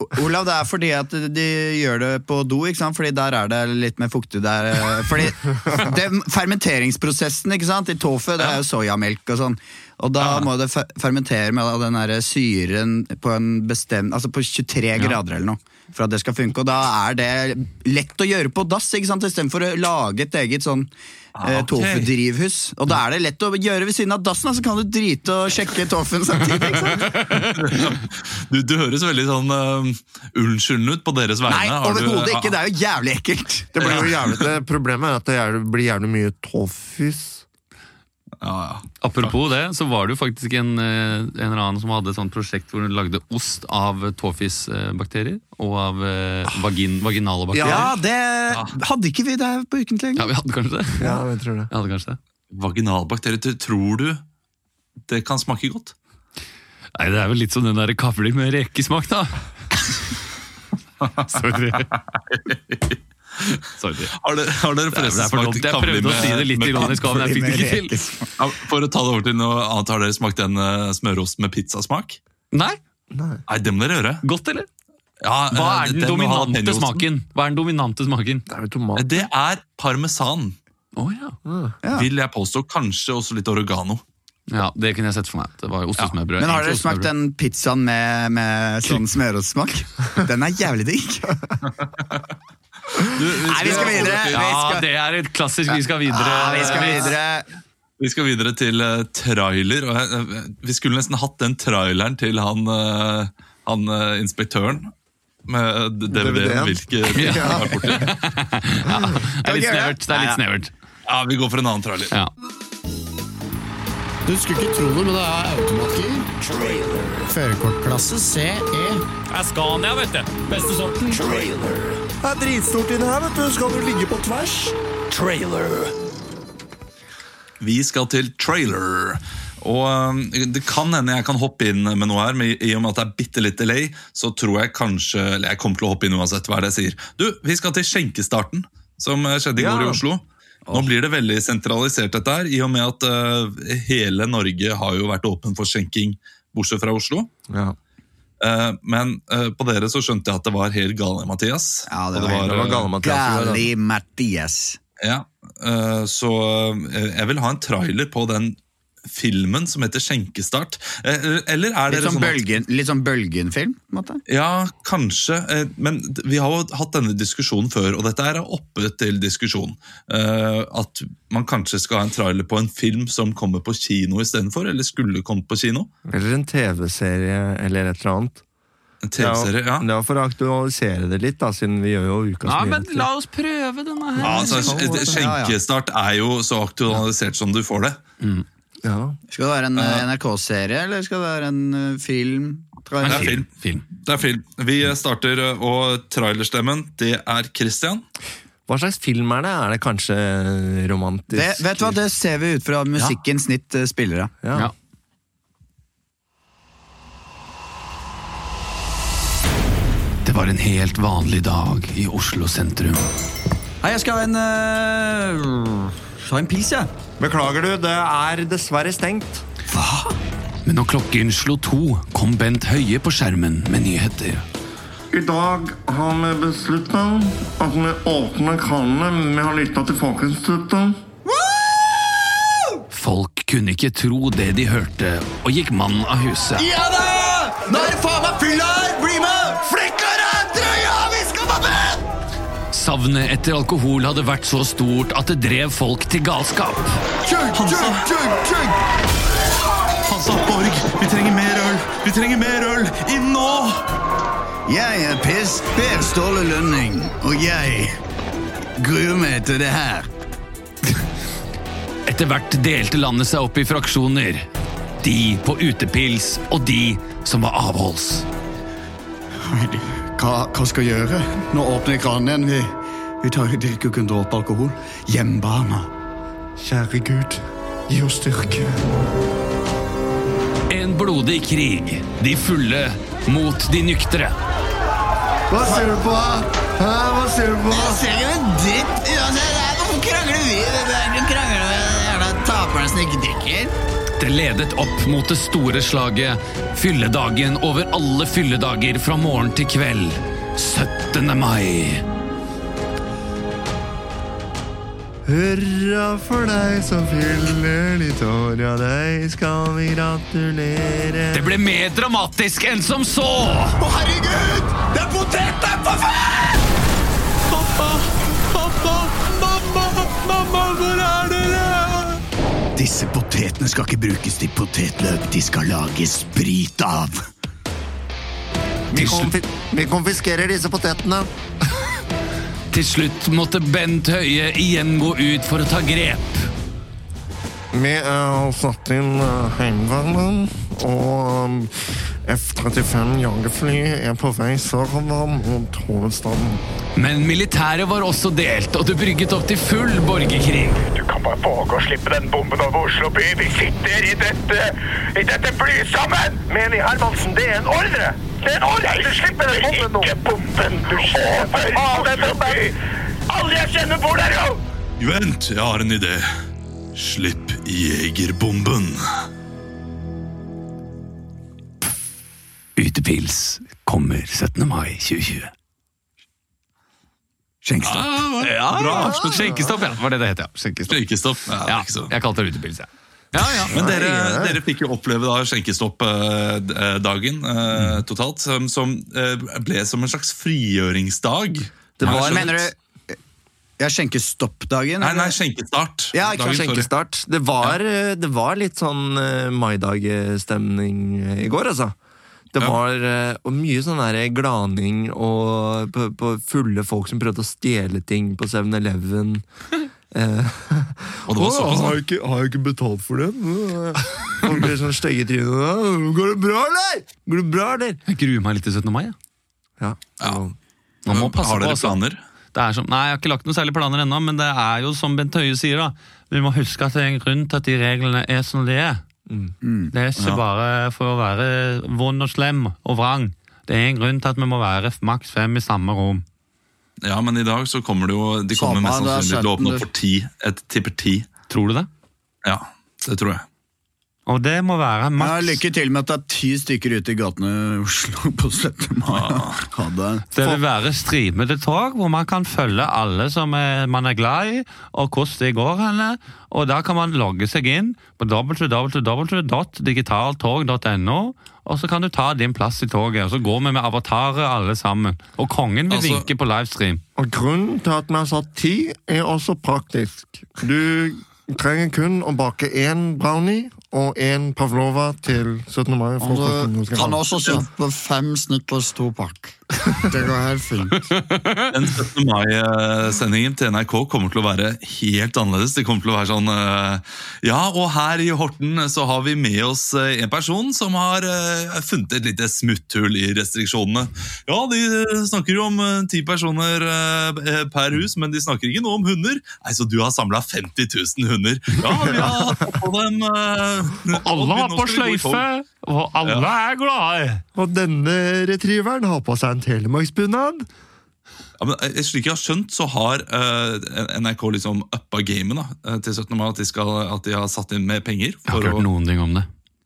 [SPEAKER 3] O- Olav, det er fordi at de gjør det på do, ikke sant? Fordi der er det litt mer fuktig der. eh, Fordi det, fermenteringsprosessen ikke sant? i tofu, det er jo soyamelk og sånn. Og da må det fe- fermentere med all den der syren på en bestemt Altså på 23 grader eller noe. For at det skal funke. Og da er det lett å gjøre på dass, ikke sant? istedenfor å lage et eget sånn eh,
[SPEAKER 1] ok.
[SPEAKER 3] tofu-drivhus. Og da er det lett å gjøre ved siden av dassen, da, så kan du drite og sjekke tofuen samtidig. ikke sant?
[SPEAKER 1] Du, du høres veldig sånn eh, unnskyldende ut på deres vegne.
[SPEAKER 3] Nei,
[SPEAKER 1] Har du- Ah.
[SPEAKER 3] overhodet ikke. Det er jo jævlig ekkelt.
[SPEAKER 4] Det blir jo jævlig Problemet er at det gjerne- blir gjerne mye toffis.
[SPEAKER 1] Ja, ja.
[SPEAKER 2] Apropos det, så var det jo faktisk en, eh, en eller annen som hadde et sånt prosjekt hvor hun lagde ost av tåfisbakterier og av eh, vagin, vaginale bakterier.
[SPEAKER 3] Ja, det hadde ikke vi der på ukentlig
[SPEAKER 2] Ja, vi hadde kanskje det.
[SPEAKER 4] Ja, jeg tror det.
[SPEAKER 2] Vi hadde kanskje det.
[SPEAKER 1] Vaginalbakterier, t- tror du det kan smake godt?
[SPEAKER 2] Nei, det er vel litt som den der kavling med rekesmak, da. Sorry. Sorry.
[SPEAKER 1] Har dere, har dere
[SPEAKER 2] Det er, det
[SPEAKER 1] forresten
[SPEAKER 2] er for
[SPEAKER 1] smakt
[SPEAKER 2] dumt. Jeg prøvde å si det litt ironisk, også, men jeg fikk det ikke til.
[SPEAKER 1] Ja, For å ta det over til noe annet, har dere smakt en eh, smørost med pizzasmak?
[SPEAKER 2] Nei,
[SPEAKER 4] Nei.
[SPEAKER 1] Nei, det må dere gjøre.
[SPEAKER 2] godt eller?
[SPEAKER 1] Ja,
[SPEAKER 2] Hva
[SPEAKER 1] eh,
[SPEAKER 2] er den
[SPEAKER 1] det- det må ha
[SPEAKER 2] dominante
[SPEAKER 1] jalapeñoosten.
[SPEAKER 2] smaken? Hva er den dominante smaken?
[SPEAKER 4] Det er vel tomat.
[SPEAKER 1] eh, Det er parmesan,
[SPEAKER 2] Å ja.
[SPEAKER 3] Ja.
[SPEAKER 1] vil jeg påstå. Kanskje også litt oregano.
[SPEAKER 2] ja. Det kunne jeg sett for meg. Det var jo ost og smørbrød.
[SPEAKER 3] Men har
[SPEAKER 2] Egentlig
[SPEAKER 3] dere
[SPEAKER 2] ost og
[SPEAKER 3] smakt
[SPEAKER 2] smørbrød.
[SPEAKER 3] den pizzaen med, med sånn smørostsmak? Den er jævlig digg.
[SPEAKER 1] Du,
[SPEAKER 3] Nei, vi skal videre. Vi
[SPEAKER 2] Ja,
[SPEAKER 3] skal, Ah,
[SPEAKER 2] det er et klassisk 'vi skal videre'.
[SPEAKER 3] ja, vi skal videre.
[SPEAKER 1] Vi skal videre til eh, trailer. Og, jeg- eh, vi skulle nesten hatt den traileren til han, eh, han eh, inspektøren. Med eh, DVD-en,
[SPEAKER 4] DVD-en.
[SPEAKER 1] hvilke ting han har vært borti.
[SPEAKER 2] Det er litt
[SPEAKER 3] Skal vi gjøre
[SPEAKER 2] snevert.
[SPEAKER 3] det?
[SPEAKER 2] Det er litt snevert.
[SPEAKER 1] Ja, vi går for en annen trailer.
[SPEAKER 2] Ja.
[SPEAKER 7] Du skulle ikke tro det, men det er automatgir. Førerkortklasse
[SPEAKER 4] E.
[SPEAKER 7] CE.
[SPEAKER 2] Det er Scania, vet du. Beste sorten.
[SPEAKER 4] Det er dritstort inni her, vet du. Skal du ligge på tvers?
[SPEAKER 1] Vi skal til trailer. Og eh, Det kan hende jeg kan hoppe inn med noe her, men i- i og med at det er bitte litt delay, så tror jeg kanskje Eller jeg kommer til å hoppe inn uansett hva det er jeg sier. Du, Vi skal til skjenkestarten, som eh, skjedde i går i Oslo. Nå blir det veldig sentralisert, dette her, i og med at eh, hele Norge har jo vært åpen for skjenking, bortsett fra Oslo.
[SPEAKER 4] Ja.
[SPEAKER 1] Eh, men eh, på dere så skjønte jeg at det var helt gale, Mathias.
[SPEAKER 3] Ja, det
[SPEAKER 1] Og
[SPEAKER 3] var-
[SPEAKER 4] Det var
[SPEAKER 1] eh,
[SPEAKER 4] gale Mathias.
[SPEAKER 3] Gali Mathias.
[SPEAKER 1] ja, eh, så eh, jeg vil ha en trailer på den filmen som heter Skjenkestart. Eh, Eller er
[SPEAKER 3] Litt
[SPEAKER 1] dere
[SPEAKER 3] sånn,
[SPEAKER 1] sånn at
[SPEAKER 3] bølgen, litt sånn bølgenfilm, på en måte.
[SPEAKER 1] Ja, kanskje. eh, Men d- vi har jo hatt denne diskusjonen før, og dette er oppe til diskusjon. Eh, At man kanskje skal ha en trailer på en film som kommer på kino istedenfor, eller skulle kommet på kino.
[SPEAKER 4] Eller en TV-serie eller et eller annet.
[SPEAKER 1] En TV-serie, ja.
[SPEAKER 4] Det var for å aktualisere det litt, da, siden vi gjør jo ukas
[SPEAKER 2] Ja, men
[SPEAKER 4] nyheter.
[SPEAKER 2] la oss prøve denne her.
[SPEAKER 1] Ja, altså,
[SPEAKER 3] sånn- Ja, ja.
[SPEAKER 1] Skjenkestart er jo så aktualisert som du får det.
[SPEAKER 4] Ja.
[SPEAKER 3] Skal det være en eh, NRK-serie, eller skal det være en eh, film? Tror
[SPEAKER 1] Det
[SPEAKER 3] jeg-
[SPEAKER 1] er film.
[SPEAKER 2] Film.
[SPEAKER 1] Det er film. Vi starter, eh, og trailerstemmen, det er Christian.
[SPEAKER 4] Hva slags film er det? Er det kanskje romantisk?
[SPEAKER 3] Det, vet du hva, det ser vi ut fra musikkens snitt eh, spillere.
[SPEAKER 4] Ja.
[SPEAKER 2] Ja. Det var en helt vanlig dag i Oslo sentrum.
[SPEAKER 3] Hei, jeg skal ha en eh, Ha en pils, jeg.
[SPEAKER 4] Beklager du, det er dessverre stengt.
[SPEAKER 2] Men når klokken slo to, kom Bent Høie på skjermen med nyheter.
[SPEAKER 8] I dag har vi besluttet at vi åpner kranene vi har lyttet til Folkeinstituttet.
[SPEAKER 2] Folk kunne ikke tro det de hørte, og gikk mann av huset.
[SPEAKER 4] Ja da! Nå er det faen meg fylla her! Bli med! Flekker av trøya! Vi skal på bed!
[SPEAKER 2] Savnet etter alkohol hadde vært så stort at det drev folk til galskap.
[SPEAKER 1] Hansa Borg, vi trenger mer øl! Vi trenger mer øl! Inn nå!
[SPEAKER 3] Jeg er Pers, per Ståle Lønning, og jeg gruer meg til det her.
[SPEAKER 2] Etter hvert delte landet seg opp i fraksjoner. De på utepils, og de som var avholds.
[SPEAKER 7] Hva, hva skal jeg gjøre? Nå åpner jeg kranen igjen. Vi, vi tar vi drikker jo kun dråper alkohol. Hjemmebane.
[SPEAKER 4] Kjære Gud, gi oss styrke.
[SPEAKER 2] En blodig krig. De fulle mot de nyktre.
[SPEAKER 4] Hva ser du på? Hæ, hva ser du på?
[SPEAKER 3] Jeg ser ikke noe dritt. uansett. Nei, Hvorfor krangler vi? Du krangler med den jævla taperen som ikke drikker.
[SPEAKER 2] Det ledet opp mot det store slaget. Fylledagen over alle fylledager fra morgen til kveld. 17. mai.
[SPEAKER 4] Hurra for deg som fyller ditt år, ja deg skal vi gratulere.
[SPEAKER 2] Det ble mer dramatisk enn som så!
[SPEAKER 4] Å herregud! Det er poteter på fest! Pappa! Pappa! Mamma! Mamma, hvor er dere?
[SPEAKER 7] Disse potetene skal ikke brukes til potetløk. De skal lages sprit av.
[SPEAKER 4] Vi,
[SPEAKER 2] Til slutt,
[SPEAKER 4] konfi vi konfiskerer disse potetene.
[SPEAKER 2] til slutt måtte Bent Høie igjen gå ut for å ta grep.
[SPEAKER 4] Vi eh, har satt inn eh, Heimevernet, og um, F-35 jagerfly er på vei sørover mot hovedstaden.
[SPEAKER 2] Men militæret var også delt, og det brygget opp til full borgerkrig.
[SPEAKER 9] Du kan bare våge å slippe den bomben over Oslo by. Vi sitter i dette, i dette fly sammen! Meni Hermansen, det er en ordre! Det er en ordre! Du slipper den bomben nå! Ikke bomben! Du slipper av den bomben! Alle jeg kjenner bor der, jo!
[SPEAKER 1] Vent, jeg har en idé. Slipp jegerbomben.
[SPEAKER 2] Utepils kommer 17. mai 2020.
[SPEAKER 3] Skjenkestad.
[SPEAKER 2] Ja, bra avslutt. Skjenkestopp, ja. Var det det het, ja. Skjenkestopp.
[SPEAKER 1] Skjenkestopp. Ja, det
[SPEAKER 2] Ja,
[SPEAKER 1] er ikke så-
[SPEAKER 2] jeg kalte det utepils, jeg. Ja, ja.
[SPEAKER 1] Men dere, dere fikk jo oppleve da skjenkestopp-dagen eh, totalt, som, som eh, ble som en slags frigjøringsdag.
[SPEAKER 3] Det
[SPEAKER 1] Har jeg
[SPEAKER 3] var,
[SPEAKER 1] skjønt?
[SPEAKER 3] mener du Jeg skjenker stoppdagen?
[SPEAKER 1] Nei, nei,
[SPEAKER 3] eller?
[SPEAKER 1] skjenkestart.
[SPEAKER 3] Ja, ikke
[SPEAKER 1] Dagen,
[SPEAKER 3] sant,
[SPEAKER 1] sorry.
[SPEAKER 4] Skjenkestart. Det var, eh, det var litt sånn eh, maidagstemning eh, i går, altså. Det
[SPEAKER 1] Ja.
[SPEAKER 4] var eh, og mye sånn der glaning og på, på fulle folk som prøvde å stjele ting på 7-Eleven.
[SPEAKER 1] Og det var såpass, da.
[SPEAKER 4] jeg ikke, betalt for den? Folk blir sånn stygge i trynet. Går det bra, eller? Går det bra, eller?
[SPEAKER 2] Jeg gruer meg litt til 17. mai. jeg.
[SPEAKER 4] Ja. så-
[SPEAKER 2] Man må passe
[SPEAKER 1] Har
[SPEAKER 2] på,
[SPEAKER 1] dere
[SPEAKER 2] altså.
[SPEAKER 1] planer?
[SPEAKER 2] Det er som, nei, Jeg har ikke lagt noen særlige planer ennå, men det er jo som Bent Høie sier, da. Vi må huske at det er en grunn til at de reglene er som de er. Det er ikke bare for å være vond og slem og vrang. Det er en grunn til at vi må være maks fem i samme rom.
[SPEAKER 1] Ja, men i dag så kommer det jo De kommer mest
[SPEAKER 3] Samme, det er
[SPEAKER 1] sannsynlig til å åpne opp
[SPEAKER 3] sjelden.
[SPEAKER 1] for ti. Jeg tipper ti.
[SPEAKER 2] Tror du det?
[SPEAKER 1] Ja, det tror jeg.
[SPEAKER 2] Og det må være
[SPEAKER 3] Ja,
[SPEAKER 2] maks.
[SPEAKER 3] lykke til med at det er ti stykker ute i gatene i Oslo på 17. mai. Ha det.
[SPEAKER 2] Det vil være streamede tog hvor man kan følge alle som er, man er glad i, og hvordan det går henne. Og da kan man logge seg inn på www.digitaltog.no, og så kan du ta din plass i toget. Og så går vi med avatarer alle sammen. Og kongen vil
[SPEAKER 1] Altså-
[SPEAKER 2] vinke på livestream.
[SPEAKER 4] Og grunnen til at vi har satt ti, er også praktisk. Du trenger kun å bake én brownie og én pavlova til 17. mai. for
[SPEAKER 3] Altså,
[SPEAKER 7] Og
[SPEAKER 4] folkene
[SPEAKER 7] du
[SPEAKER 4] skal
[SPEAKER 7] kan
[SPEAKER 4] ha.
[SPEAKER 7] også kjøpe fem Snickers topakk. Det går helt fint.
[SPEAKER 1] Den 17. mai-sendingen til NRK kommer til å være helt annerledes. Det kommer til å være sånn eh, Ja, og her i Horten eh, så har vi med oss eh, en person som har eh, funnet et lite smutthull i restriksjonene. Ja, de eh, snakker jo om eh, ti personer eh, eh, per hus, men de snakker ikke noe om hunder. Nei, så du har samla 50 000 hunder. Ja, vi har tatt på dem eh,
[SPEAKER 2] Alle
[SPEAKER 1] og
[SPEAKER 2] har
[SPEAKER 1] nå
[SPEAKER 2] på
[SPEAKER 1] skal vi gå i tog.
[SPEAKER 2] sløyfe,
[SPEAKER 5] og alle er glade.
[SPEAKER 4] Og denne retrieveren har på seg en telemarksbunad.
[SPEAKER 1] Ja, men eh, slik jeg har skjønt, så har eh, NRK liksom uppa gamet da, eh, til 17. mai. At de, skal, at de har satt inn mer penger
[SPEAKER 2] Jeg har
[SPEAKER 1] for
[SPEAKER 2] ikke
[SPEAKER 1] å
[SPEAKER 2] hørt noen ting om det.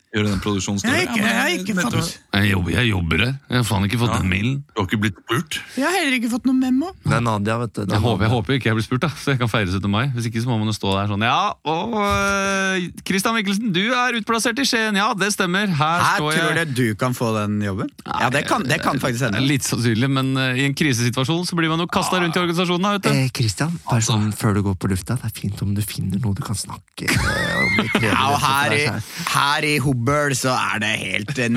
[SPEAKER 1] gjøre den produksjonen større.
[SPEAKER 3] Jeg har ikke-
[SPEAKER 1] Ja, men
[SPEAKER 3] jeg har ikke
[SPEAKER 1] nettopp-
[SPEAKER 3] fått-
[SPEAKER 2] Jeg jobber, jeg jobber her. Jeg har faen ikke fått den mailen.
[SPEAKER 1] Du har ikke blitt lurt?
[SPEAKER 3] Jeg har heller ikke fått noe memo.
[SPEAKER 4] Det er Nadia, vet du. Det er
[SPEAKER 2] Jeg håper,
[SPEAKER 4] Nadia.
[SPEAKER 2] jeg håper ikke jeg blir spurt, da, så jeg kan feire 17. mai. Hvis ikke så må man jo stå der sånn Ja, og øh, Christian Mikkelsen, du er utplassert i Skien. Ja, det stemmer. Her,
[SPEAKER 3] Jeg
[SPEAKER 2] står
[SPEAKER 3] tror
[SPEAKER 2] jeg.
[SPEAKER 3] det du kan få den jobben. Ja, det kan, det kan faktisk hende.
[SPEAKER 2] Litt sannsynlig, men øh, i en krisesituasjon så blir man jo kasta rundt i organisasjonen. da, Vet du.
[SPEAKER 4] Eh, Christian, bare sånn før du går på lufta, det er fint om du finner noe du kan snakke eh, om. litt trevelig
[SPEAKER 3] Ja, og her i,
[SPEAKER 4] rett og slett.
[SPEAKER 3] her i Hobøl så er det helt eh,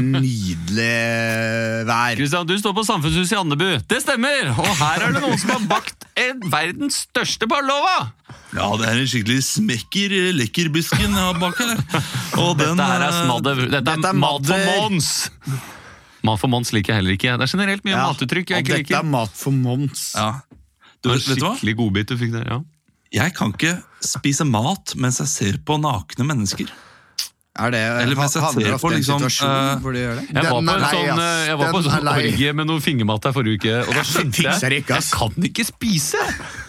[SPEAKER 3] nydelig eh, vær.
[SPEAKER 2] Christian, du står på Samfunnshuset i Andebu. Det stemmer! Og her er det noen som har bakt en verdens største pavlova!
[SPEAKER 1] Ja, det er en skikkelig smekker eh, lekkerbusken jeg har bak her. Og den,
[SPEAKER 2] Dette her er
[SPEAKER 1] eh,
[SPEAKER 2] smadder. Dette
[SPEAKER 3] Dette er
[SPEAKER 2] er mat for
[SPEAKER 3] madder.
[SPEAKER 2] Mons! Mat for Mons liker jeg heller ikke. Det er generelt mye
[SPEAKER 3] Ja,
[SPEAKER 2] matuttrykk jeg
[SPEAKER 3] og
[SPEAKER 2] ikke
[SPEAKER 3] dette er
[SPEAKER 2] liker.
[SPEAKER 3] mat for Mons.
[SPEAKER 1] Ja. Du, vet, vet du hva?
[SPEAKER 2] Skikkelig godbit du fikk der, ja.
[SPEAKER 1] Jeg kan ikke spise mat mens jeg ser på nakne mennesker.
[SPEAKER 3] Er det,
[SPEAKER 1] Eller mens jeg
[SPEAKER 3] havner
[SPEAKER 1] ser
[SPEAKER 3] ofte
[SPEAKER 1] på,
[SPEAKER 3] i en
[SPEAKER 1] liksom,
[SPEAKER 3] situasjon
[SPEAKER 1] eh,
[SPEAKER 3] hvor de gjør det?
[SPEAKER 2] Jeg
[SPEAKER 4] Den
[SPEAKER 2] var på
[SPEAKER 4] er
[SPEAKER 2] en
[SPEAKER 4] lei,
[SPEAKER 2] sånn,
[SPEAKER 4] ass.
[SPEAKER 2] jeg var på en
[SPEAKER 4] Den er
[SPEAKER 2] sånn
[SPEAKER 4] lei.
[SPEAKER 2] orgie med noe fingermat her forrige uke, og da skjønte
[SPEAKER 3] fikser
[SPEAKER 2] jeg
[SPEAKER 3] ikke, ass.
[SPEAKER 2] jeg kan ikke spise!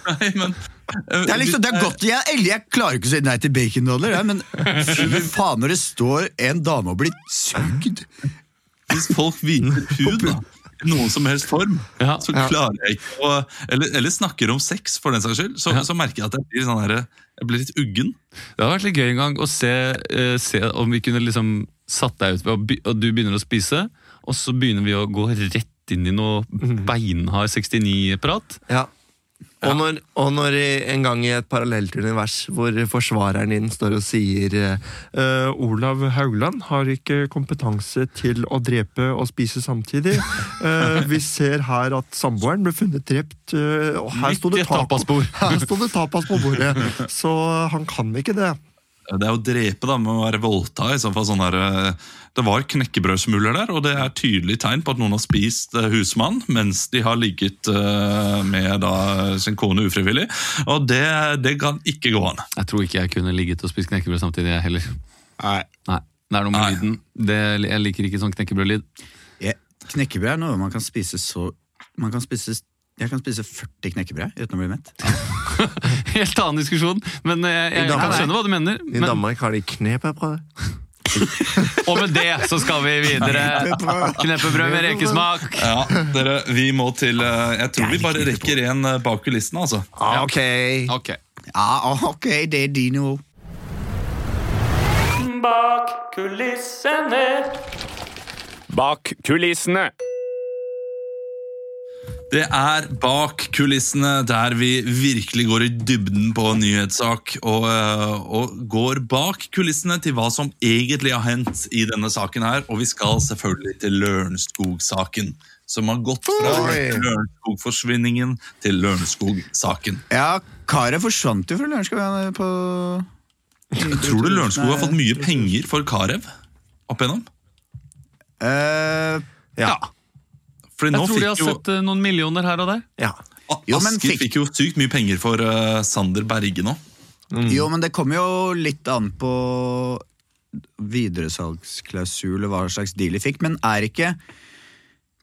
[SPEAKER 1] Nei, men... eh,
[SPEAKER 3] Det er liksom, det
[SPEAKER 1] du-
[SPEAKER 3] er godt, jeg, eller jeg klarer ikke å si nei til bacondollar, jeg, men fy faen når det står en dame og blir sugd
[SPEAKER 1] Hvis folk viser hud da, i noen som helst form,
[SPEAKER 2] Ja.
[SPEAKER 1] så klarer jeg ikke å eller, eller snakker om sex, for den saks skyld, så, så merker jeg at jeg blir, sånn her, jeg blir litt uggen.
[SPEAKER 2] Det hadde vært litt gøy en gang å se, eh, se om vi kunne liksom satt deg ut ved å by- og du begynner å spise, og så begynner vi å gå rett inn i noe
[SPEAKER 4] Mhm.
[SPEAKER 2] beinhard 69-prat.
[SPEAKER 4] Ja. Og når, og når i- en gang i et parallelt univers hvor forsvareren din står og sier eh, «Eh, Olav Haugland har ikke kompetanse til å drepe og spise samtidig. Eh, vi ser her at samboeren ble funnet drept, eh, og her sto det
[SPEAKER 2] Midt i et tapaspor.»
[SPEAKER 4] Her sto det tapas på bordet, så han kan ikke det.
[SPEAKER 1] Det er å drepe da, med å være voldta i så fall sånn der, eh, Det var knekkebrødsmuler der, og det er tydelig tegn på at noen har spist eh, husmann mens de har ligget eh, med da, sin kone ufrivillig. Og det, det kan ikke gå an.
[SPEAKER 2] Jeg tror ikke jeg kunne ligget og spist knekkebrød samtidig, jeg heller.
[SPEAKER 3] Nei.
[SPEAKER 2] Nei, det er noe med
[SPEAKER 1] Nei.
[SPEAKER 2] lyden. Det, jeg liker ikke sånn knekkebrødlyd.
[SPEAKER 3] Jeg- Knekkebrød er noe man kan spise så man kan spise, Jeg kan spise 40 knekkebrød uten å bli mett.
[SPEAKER 2] Helt annen diskusjon, men eh, jeg,
[SPEAKER 4] I
[SPEAKER 2] jeg kan
[SPEAKER 4] Danmark-
[SPEAKER 2] skjønne hva du mener.
[SPEAKER 4] I
[SPEAKER 2] Men,
[SPEAKER 4] Danmark har de knepepbrød.
[SPEAKER 2] og med det så skal vi videre. Kneppebrød med rekesmak.
[SPEAKER 1] Ja, dere, vi må til eh, Jeg tror vi bare rekker en eh, bak kulissene, altså.
[SPEAKER 4] Ah, ok.
[SPEAKER 2] Ok.
[SPEAKER 3] Ja, ok, det er dine ord.
[SPEAKER 10] Bak kulissene. Bak kulissene.
[SPEAKER 1] Det er bak kulissene der vi virkelig går i dybden på en nyhetssak, og, eh, og går bak kulissene til hva som egentlig har hendt i denne saken her. Og vi skal selvfølgelig til Lørenskog-saken, som har gått fra Lørenskog-forsvinningen til Lørenskog-saken.
[SPEAKER 3] Ja, karet forsvant jo fra Lørenskog eh, på
[SPEAKER 1] Tror du Lørenskog har fått mye penger for Carew opp igjennom?
[SPEAKER 3] Eh,
[SPEAKER 4] Ja.
[SPEAKER 1] Fordi nå
[SPEAKER 2] Jeg tror de har
[SPEAKER 1] fikk jo
[SPEAKER 2] sett eh, noen millioner her og der.
[SPEAKER 4] ja.
[SPEAKER 3] Jo, men
[SPEAKER 1] Asker
[SPEAKER 3] fikk-
[SPEAKER 1] fikk jo sykt mye penger for eh, Sander Berge nå.
[SPEAKER 3] Jo, men det kommer jo litt an på videresalgsklausul og hva slags deal de fikk, men er ikke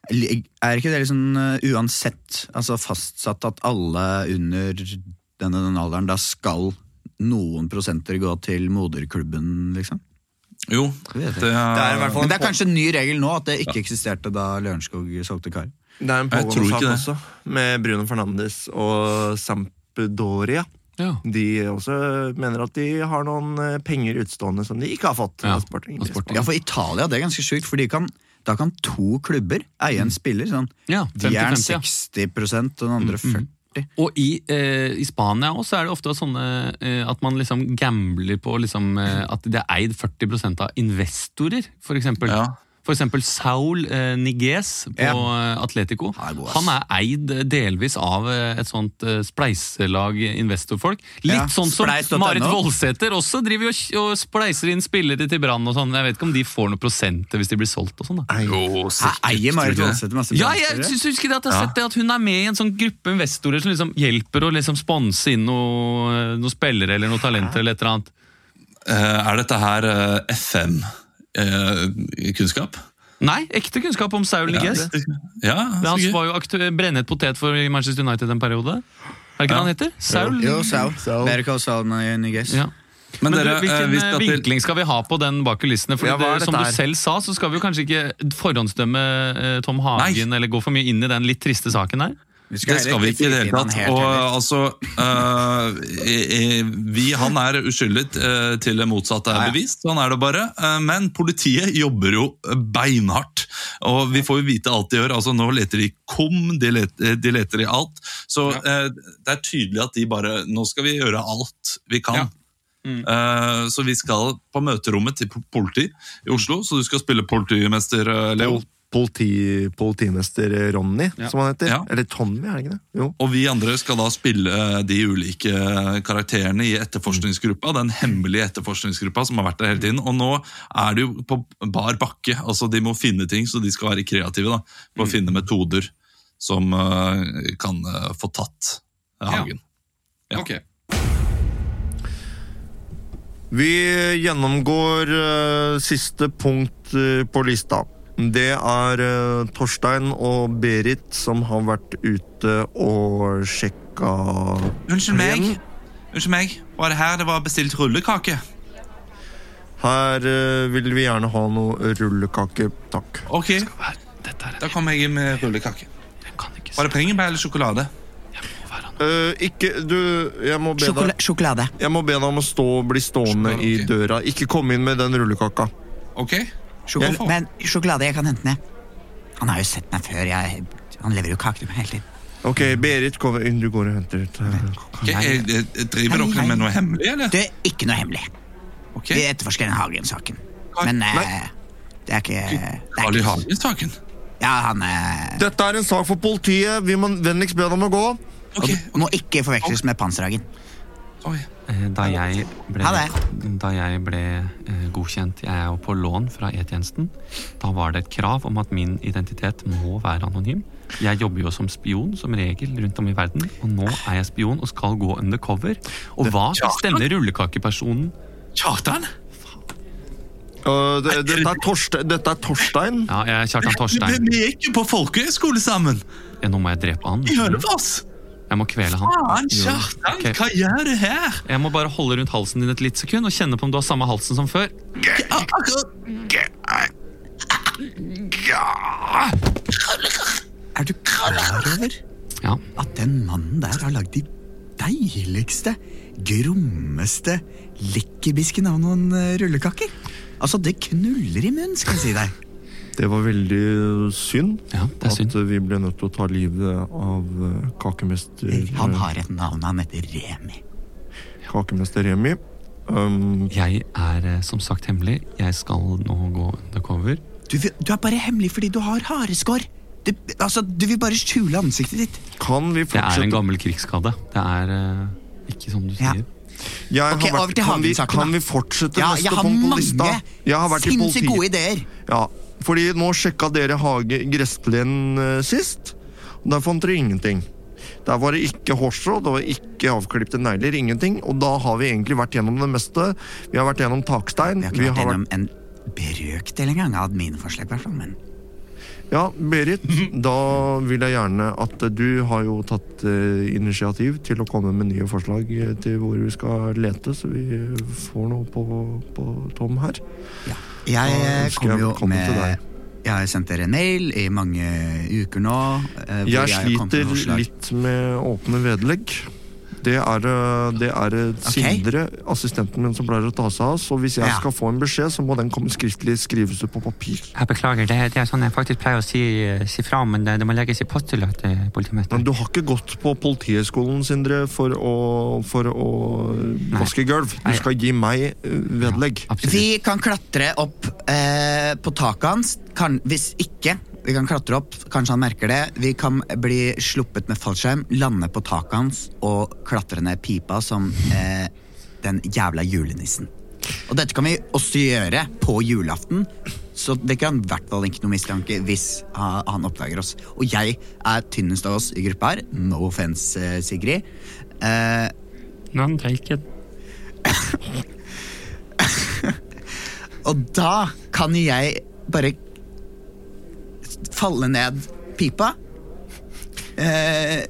[SPEAKER 3] er ikke det liksom eh, uansett altså fastsatt at alle under denne, denne alderen da skal noen prosenter gå til moderklubben, liksom?
[SPEAKER 1] Jo,
[SPEAKER 3] Det vet
[SPEAKER 1] det
[SPEAKER 3] jeg.
[SPEAKER 1] er
[SPEAKER 3] Men det er kanskje en ny regel nå at det ikke eksisterte da Lørenskog solgte Kari.
[SPEAKER 4] Det er en
[SPEAKER 1] Jeg tror
[SPEAKER 4] pågående
[SPEAKER 1] ikke
[SPEAKER 4] sak
[SPEAKER 1] det.
[SPEAKER 4] også, med Bruno Fernandes og Sampdoria.
[SPEAKER 2] Ja.
[SPEAKER 4] De også mener at de har noen eh, penger utstående som de ikke har fått.
[SPEAKER 2] Ja,
[SPEAKER 4] av Sporting.
[SPEAKER 2] av Sporting.
[SPEAKER 3] Ja, for Italia, det er ganske sjukt, for de kan, da kan to klubber eie en spiller. Sånn.
[SPEAKER 2] Ja,
[SPEAKER 3] De er
[SPEAKER 2] 50-50, ja.
[SPEAKER 3] 60 og den andre 40
[SPEAKER 2] Og i, eh, i Spania også er det ofte sånne eh, at man liksom gambler på liksom, eh, at det er eid 40 av investorer, for eksempel.
[SPEAKER 1] Ja.
[SPEAKER 2] For eksempel Saul eh, Niguez på eh, Atletico.
[SPEAKER 3] Han er god, ass.
[SPEAKER 2] Han er eid eh, delvis av eh, et sånt eh, spleiselag eh, investorfolk. Litt
[SPEAKER 3] Ja,
[SPEAKER 2] sånn som
[SPEAKER 3] spleis.no.
[SPEAKER 2] Marit Voldsæter også driver jo og, og spleiser inn spillere til Brann og sånn. Jeg vet ikke om de får noen prosenter hvis de blir solgt og sånn. da.
[SPEAKER 1] jo
[SPEAKER 3] Her eier Marit
[SPEAKER 1] tror du ikke det?
[SPEAKER 3] Voldsæter masse
[SPEAKER 2] Ja, jeg
[SPEAKER 3] bransjer,
[SPEAKER 2] synes, husker det at jeg har sett det at hun er med i en sånn gruppe investorer som liksom hjelper å liksom sponse inn eh, noen noe spillere eller noen talenter eller et eller annet.
[SPEAKER 1] Eh, Er dette her eh, FM? eh, kunnskap?
[SPEAKER 5] Nei, ekte kunnskap om Saul Niguez.
[SPEAKER 1] Ja, så
[SPEAKER 5] han
[SPEAKER 1] gøy.
[SPEAKER 5] var jo aktu brennet potet for Manchester United en periode. Er det ikke
[SPEAKER 1] Ja.
[SPEAKER 5] det han heter? Saul?
[SPEAKER 2] Jo, Saul. Better Call Saul, I guess.
[SPEAKER 5] Ja.
[SPEAKER 1] Men
[SPEAKER 5] Men,
[SPEAKER 1] dere,
[SPEAKER 5] du, hvilken
[SPEAKER 1] eh, hvis
[SPEAKER 5] eh,
[SPEAKER 1] dette-
[SPEAKER 5] vinkling skal vi ha på den bak kulissene? Fordi
[SPEAKER 4] Ja, hva er
[SPEAKER 5] det, som du
[SPEAKER 4] dette her?
[SPEAKER 5] selv sa, så skal vi jo kanskje ikke forhåndsdømme eh, Tom Hagen eller gå for mye inn i den litt triste saken der.
[SPEAKER 1] Det skal vi ikke i det hele tatt. Og altså øh, eh, eh, vi, Han er uskyldig eh, til det motsatte er bevist, sånn er det bare. Eh, Men politiet jobber jo beinhardt. Og vi får jo vite alt de gjør. altså Nå leter de i KOM, de leter, de leter i alt. Så eh, det er tydelig at de bare Nå skal vi gjøre alt vi kan. Mm. Eh, Så vi skal på møterommet til po- politi i Oslo, så du skal spille politimester, eh, Leo.
[SPEAKER 4] Politi, politimester Ronny,
[SPEAKER 1] Ja.
[SPEAKER 4] som han heter.
[SPEAKER 1] Ja.
[SPEAKER 4] Eller Tommy, er det ikke det? Jo.
[SPEAKER 1] Og vi andre skal da spille eh, de ulike karakterene i etterforskningsgruppa. Den hemmelige etterforskningsgruppa som har vært der hele tiden. Og nå er det jo på bar bakke. altså De må finne ting, så de skal være kreative da, på å finne metoder som eh, kan eh, få tatt eh, Hagen. Ja.
[SPEAKER 4] Vi gjennomgår eh, siste punkt eh, på lista. Det er eh, Torstein og Berit som har vært ute og sjekka
[SPEAKER 1] Unnskyld meg. Unnskyld meg. Var det her det var bestilt rullekake?
[SPEAKER 4] Her eh, vil vi gjerne ha noe rullekake, takk.
[SPEAKER 1] Ok. Da kommer jeg med rullekake. Var det bringebær eller sjokolade?
[SPEAKER 4] Eh, ikke Du, jeg må be
[SPEAKER 1] Sjokola-
[SPEAKER 4] deg Jeg må be deg om å stå, bli stående i døra. Ikke komme inn med den rullekaka.
[SPEAKER 1] Ok.
[SPEAKER 4] Sjokol-
[SPEAKER 3] Sjokol- Men sjokolade, jeg kan hente ned. Han har jo sett meg før. Jeg, han leverer jo kaker til meg hele tiden.
[SPEAKER 4] Ok, Berit, kom inn. Du går og henter ut eh,
[SPEAKER 1] Ok, eh, eh, driver dere med noe hemmelig, eller?
[SPEAKER 3] Det er ikke noe hemmelig. Vi etterforsker den Hagen-saken. Men eh, det er ikke det er
[SPEAKER 1] Carl I. Hagen-saken?
[SPEAKER 3] Ja, han eh,
[SPEAKER 4] Dette er en sak for politiet. Vi må vennligst be dem å gå.
[SPEAKER 3] og Må ikke forveksles med Panserhagen.
[SPEAKER 5] Eh, Da jeg ble,
[SPEAKER 3] Ha
[SPEAKER 5] da jeg ble eh, godkjent, jeg er jo på lån fra E-tjenesten, da var det et krav om at min identitet må være anonym. Jeg jobber jo som spion som regel rundt om i verden, og nå er jeg spion og skal gå undercover. Og hva hvis denne rullekakepersonen
[SPEAKER 1] Kjartan?
[SPEAKER 4] Eh, det, dette, er Torste, dette er Torstein.
[SPEAKER 5] Ja, jeg er Kjartan Torstein.
[SPEAKER 1] Vi gikk jo på folkehøyskole sammen!
[SPEAKER 5] Ja, nå må jeg drepe han.
[SPEAKER 1] I Hønefoss!
[SPEAKER 5] Jeg må kvele han.
[SPEAKER 1] Faen,
[SPEAKER 5] Jo.
[SPEAKER 1] Kjartan!
[SPEAKER 5] Ok.
[SPEAKER 1] Hva gjør du her?
[SPEAKER 5] Jeg må bare holde rundt halsen din et litt sekund og kjenne på om du har samme halsen som før.
[SPEAKER 3] Er du klar over
[SPEAKER 5] Ja.
[SPEAKER 3] at den mannen der har lagd de deiligste, grommeste lekkerbisken av noen eh, rullekaker? Altså, det knuller i munnen, skal jeg si deg.
[SPEAKER 4] Det var veldig synd,
[SPEAKER 5] det er synd.
[SPEAKER 4] at eh, vi ble nødt til å ta livet av eh, kakemester
[SPEAKER 3] Han har et navn, han heter Remi.
[SPEAKER 4] Kakemester Remi. Um,
[SPEAKER 5] Jeg er eh, som sagt hemmelig. Jeg skal nå gå undercover.
[SPEAKER 3] Du, vil- du er bare hemmelig fordi du har hareskår. Du, altså, du vil bare skjule ansiktet ditt.
[SPEAKER 4] kan vi
[SPEAKER 5] Det er en
[SPEAKER 4] fortsette?
[SPEAKER 5] gammel krigsskade. Det er eh, ikke som du sier.
[SPEAKER 4] Jeg har
[SPEAKER 3] Ok,
[SPEAKER 4] vært-
[SPEAKER 3] over til
[SPEAKER 4] kan vi-
[SPEAKER 3] Hagen-saken,
[SPEAKER 4] Kan
[SPEAKER 3] da.
[SPEAKER 4] vi fortsette
[SPEAKER 3] Ja, jeg
[SPEAKER 4] neste
[SPEAKER 3] har
[SPEAKER 4] punkt på lista?
[SPEAKER 3] mange
[SPEAKER 4] Jeg har vært i
[SPEAKER 3] sinnssykt
[SPEAKER 4] politiet.
[SPEAKER 3] gode ideer.
[SPEAKER 4] Ja, fordi nå sjekka dere hage gressplenen eh, sist, og der fant dere ingenting. Der var det ikke hårstrå, det var ikke avklipte negler, ingenting. Og da har vi egentlig vært gjennom det meste. Vi har vært gjennom takstein.
[SPEAKER 3] Jeg har
[SPEAKER 4] vi
[SPEAKER 3] ikke vært
[SPEAKER 4] har
[SPEAKER 3] gjennom en brøkdel engang av mine forslag, i hvert fall. Men
[SPEAKER 4] Ja, Berit, da vil jeg gjerne at eh, du har jo tatt eh, initiativ til å komme med nye forslag eh, til hvor vi skal lete, så vi eh, får noe på, på tom her.
[SPEAKER 3] jeg eh,
[SPEAKER 4] ønsker
[SPEAKER 3] kom
[SPEAKER 4] jeg
[SPEAKER 3] jo
[SPEAKER 4] velkommen til
[SPEAKER 3] med
[SPEAKER 4] deg.
[SPEAKER 3] Jeg har sendt dere en mail i mange uker nå. eh, hvor
[SPEAKER 4] Jeg
[SPEAKER 3] har kommet med
[SPEAKER 4] sliter
[SPEAKER 3] forslag.
[SPEAKER 4] litt med åpne vedlegg. Det er, eh, det er eh, Sindre, assistenten min, som pleier å ta seg av oss. Og hvis jeg
[SPEAKER 3] Ja.
[SPEAKER 4] skal få en beskjed, så må den komme skriftlig skrives ut på papir.
[SPEAKER 11] Jeg beklager, det, det er sånn jeg faktisk pleier å si, eh, si fra, men det, det må legges i postulat, eh, politimester.
[SPEAKER 4] Men du har ikke gått på Politihøgskolen, Sindre, for å, for å vaske gulv. Du skal gi meg eh, vedlegg.
[SPEAKER 3] Vi kan klatre opp eh, på taket hans. Kan, hvis ikke vi kan klatre opp, kanskje han merker det. Vi kan bli sluppet med fallskjerm, lande på taket hans og klatre ned pipa som eh, den jævla julenissen. Og dette kan vi også gjøre på julaften, så det kan i hvert fall ikke noe mistanke hvis ha- han oppdager oss. Og jeg er tynnest av oss i gruppa her. No offense, eh, Sigrid. Eh,
[SPEAKER 11] None taken.
[SPEAKER 3] Og da kan jeg bare falle ned pipa. Eh,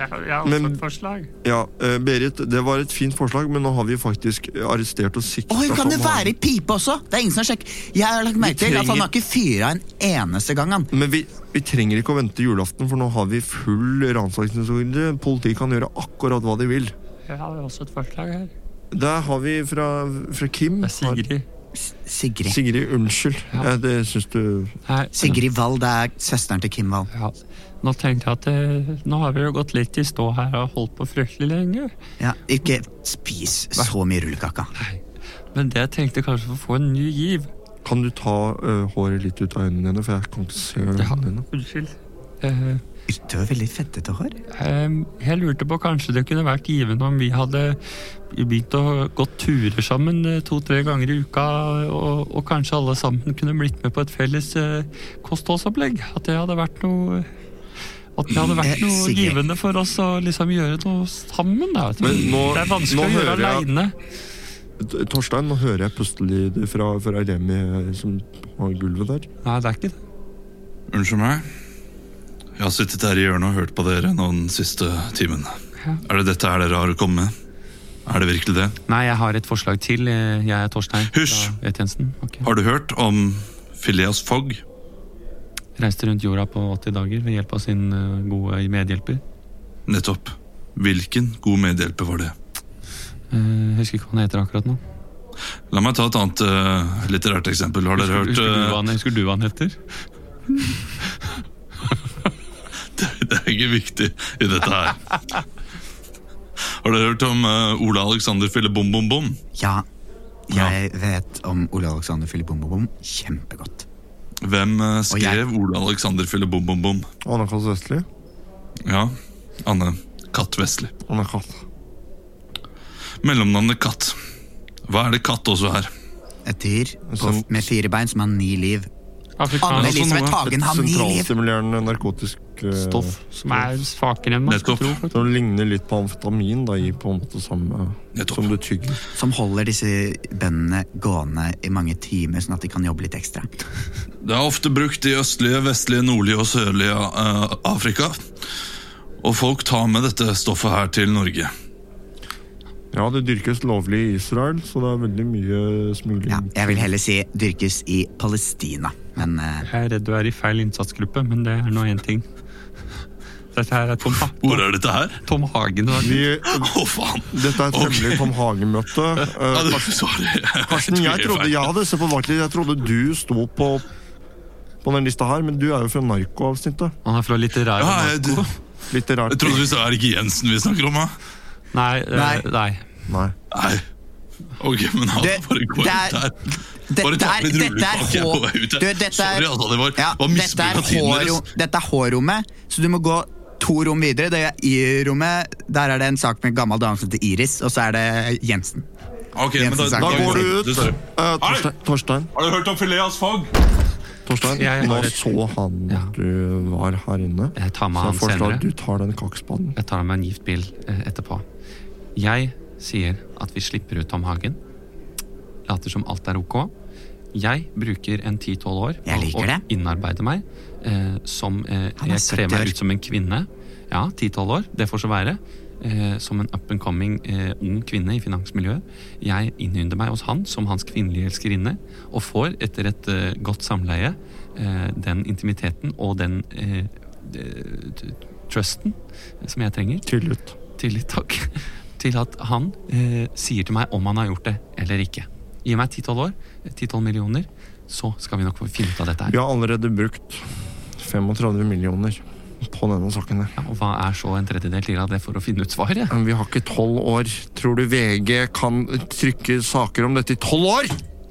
[SPEAKER 9] Jeg, jeg har også
[SPEAKER 4] Men-
[SPEAKER 9] et forslag.
[SPEAKER 4] Ja, eh, Berit, det var et fint forslag, men nå har vi faktisk arrestert og sikta
[SPEAKER 3] Oi, kan det
[SPEAKER 4] som han.
[SPEAKER 3] være i pipe også? Det er ingen som har sjekket. Jeg har lagt merke til at han har ikke fyra en eneste gang, han.
[SPEAKER 4] Men vi, vi trenger ikke å vente julaften, for nå har vi full ransakingsmetode. Politiet kan gjøre akkurat hva de vil.
[SPEAKER 9] Jeg har også et forslag her.
[SPEAKER 4] Der har vi fra, fra Kim Sigrid.
[SPEAKER 3] Sigrid.
[SPEAKER 4] Sigrid, unnskyld. Ja, det syns du
[SPEAKER 3] Sigrid Wall, det er søsteren til Kim Wall.
[SPEAKER 9] Nå tenkte jeg at eh, nå har vi jo gått litt i stå her og holdt på fryktelig lenge.
[SPEAKER 3] Ja, ikke spis så mye rullekaka.
[SPEAKER 9] Men det jeg tenkte kanskje for å få en ny giv.
[SPEAKER 4] Kan du ta eh, håret litt ut av øynene dine, for jeg kan ikke se øynene dine.
[SPEAKER 9] Unnskyld. Eh,
[SPEAKER 3] Du har veldig fettete hår.
[SPEAKER 9] Ehm, Jeg lurte på kanskje det kunne vært givende om vi hadde begynt å gå turer sammen eh, to-tre ganger i uka, og, og kanskje alle sammen kunne blitt med på et felles eh, kostholdsopplegg. At det hadde vært noe at det hadde vært
[SPEAKER 12] Eh,
[SPEAKER 9] noe
[SPEAKER 12] Sigrid.
[SPEAKER 9] givende for oss å liksom gjøre noe sammen. Da.
[SPEAKER 4] Men nå-
[SPEAKER 9] det er vanskelig
[SPEAKER 4] nå
[SPEAKER 9] å gjøre
[SPEAKER 4] hører jeg-
[SPEAKER 9] aleine.
[SPEAKER 4] T- Torstein, nå hører jeg pustelyder fra, fra Remi eh, som har gulvet der.
[SPEAKER 9] Nei, det er ikke det.
[SPEAKER 1] Unnskyld meg. Jeg har sittet her i hjørnet og hørt på dere nå den siste timen.
[SPEAKER 9] Ja.
[SPEAKER 1] Er det dette her dere har å komme med? Er det virkelig det?
[SPEAKER 5] Nei, jeg har et forslag til. eh, Jeg er Torstein.
[SPEAKER 1] Hysj! Har du hørt om Phileas Fogg?
[SPEAKER 5] Reiste rundt jorda på 80 dager ved hjelp av sin eh, gode medhjelper.
[SPEAKER 1] Nettopp. Hvilken god medhjelper var det?
[SPEAKER 5] Eh, Jeg husker ikke hva han heter akkurat nå.
[SPEAKER 1] La meg ta et annet eh, litterært eksempel. Har dere
[SPEAKER 5] Husker-
[SPEAKER 1] hørt
[SPEAKER 5] husker, du
[SPEAKER 1] eh,
[SPEAKER 5] hva han, husker du hva han heter?
[SPEAKER 1] Det er ikke viktig i dette her. Har dere hørt om eh, Ola Alexander Fille Bom Bom Bom?
[SPEAKER 3] Ja, jeg vet om Ole Alexander Filippombobom kjempegodt.
[SPEAKER 1] Hvem eh, skrev Ola Alexander Fille Bom Bom Bom?
[SPEAKER 4] Anna Kass Vestli.
[SPEAKER 1] Ja, Anne Katt Vestli.
[SPEAKER 4] Anna Kass.
[SPEAKER 1] Mellomnavnet Katt. Hva er det katt også er?
[SPEAKER 3] Et dyr på, med fire bein som har ni liv.
[SPEAKER 9] Afrikansk-
[SPEAKER 3] Anne Elisabeth
[SPEAKER 9] Altså noe-
[SPEAKER 3] Hagen har ni liv!
[SPEAKER 4] Sentralstimulerende narkotisk eh,
[SPEAKER 9] Stoff som er svakere enn man skulle
[SPEAKER 4] Nettopp.
[SPEAKER 9] tro.
[SPEAKER 4] Det ligner litt på amfetamin, da, i på en måte samme som du tygger.
[SPEAKER 3] Som holder disse bøndene gående i mange timer, sånn at de kan jobbe litt ekstra.
[SPEAKER 1] Det er ofte brukt i østlige, vestlige, nordlige og sørlige eh, Afrika. Og folk tar med dette stoffet her til Norge.
[SPEAKER 4] Ja, det dyrkes lovlig i Israel, så det er veldig mye smugling.
[SPEAKER 3] Jeg vil heller si dyrkes i Palestina, men eh,
[SPEAKER 9] Jeg er redd du er i feil innsatsgruppe, men det er nå én ting. Dette her er Tom Ha-
[SPEAKER 1] Hvor er dette her?
[SPEAKER 9] Tom Hagen. har-
[SPEAKER 4] Vi,
[SPEAKER 1] Å, faen!
[SPEAKER 4] Dette er et
[SPEAKER 1] Ok.
[SPEAKER 4] hemmelig Tom Hagen-møte. Eh,
[SPEAKER 1] Ja, det,
[SPEAKER 4] Karsten-
[SPEAKER 1] sorry.
[SPEAKER 4] Karsten, jeg trodde jeg hadde sett på vaktlig. Jeg trodde du sto på på den lista her, men du er jo fra narkoavsnittet.
[SPEAKER 9] Han er fra litterær
[SPEAKER 1] Ja, jeg-
[SPEAKER 9] narko.
[SPEAKER 4] Litterært.
[SPEAKER 1] Jeg trodde det var ikke Jensen vi snakker om, da.
[SPEAKER 9] Nei, eh,
[SPEAKER 1] Nei.
[SPEAKER 9] nei.
[SPEAKER 4] Nei.
[SPEAKER 1] Nei. Ok, men han
[SPEAKER 3] Det-
[SPEAKER 1] bare går ut
[SPEAKER 3] det er-
[SPEAKER 1] her.
[SPEAKER 3] det-
[SPEAKER 1] Bare ta med
[SPEAKER 3] det er-
[SPEAKER 1] en
[SPEAKER 3] dette er
[SPEAKER 1] rullekake
[SPEAKER 3] hår-
[SPEAKER 1] og gå ut her.
[SPEAKER 3] Du, dette er-
[SPEAKER 1] Sorry, altså, det var,
[SPEAKER 3] ja,
[SPEAKER 1] var
[SPEAKER 3] dette,
[SPEAKER 1] misbruk
[SPEAKER 3] er
[SPEAKER 1] av tiden
[SPEAKER 3] hårro,
[SPEAKER 1] deres.
[SPEAKER 3] dette er hårrommet, så du må gå to rom videre. Det er Y-rommet, der er det en sak med en gammel dame som heter Iris, og så er det Jensen.
[SPEAKER 1] Ok, men da,
[SPEAKER 3] Jensen
[SPEAKER 1] da
[SPEAKER 3] snakker.
[SPEAKER 1] går du ut.
[SPEAKER 4] Eh, Torstein, Torstein,
[SPEAKER 1] Har du hørt om Phileas Fogg?
[SPEAKER 4] Torstein
[SPEAKER 5] Jeg
[SPEAKER 4] nå
[SPEAKER 5] har et-
[SPEAKER 4] så han at du var her inne.
[SPEAKER 5] Jeg tar med
[SPEAKER 4] så
[SPEAKER 5] han
[SPEAKER 4] jeg foreslår
[SPEAKER 5] senere.
[SPEAKER 4] at du tar den kakespannen.
[SPEAKER 5] Jeg tar meg en gift bil eh, etterpå. Jeg sier at vi slipper ut Tom Hagen. Later som alt er ok. Jeg bruker en 10-12 år på
[SPEAKER 3] Jeg liker
[SPEAKER 5] å
[SPEAKER 3] det.
[SPEAKER 5] innarbeide meg eh, som eh,
[SPEAKER 3] Han er
[SPEAKER 5] Jeg
[SPEAKER 3] 70
[SPEAKER 5] kler
[SPEAKER 3] år.
[SPEAKER 5] meg ut som en kvinne. Ja, 10-12 år. Det får så være. Eh, som en up and coming eh, ung kvinne i finansmiljøet. Jeg innynder meg hos han som hans kvinnelige elskerinne, og får etter et eh, godt samleie eh, den intimiteten og den eh, eh, t- trusten som jeg trenger.
[SPEAKER 4] Tillit.
[SPEAKER 5] Tillit, takk. Til at han eh, sier til meg om han har gjort det eller ikke. Gi meg 10-12 år, 10-12 millioner, så skal vi nok få finne ut av dette
[SPEAKER 4] Vi
[SPEAKER 5] her.
[SPEAKER 4] har allerede brukt 35 millioner på denne saken her.
[SPEAKER 5] Og hva er så en tredjedel til av det for å finne ut svaret?
[SPEAKER 4] Men Vi har ikke tolv år. Tror du VG kan trykke saker om dette i tolv år?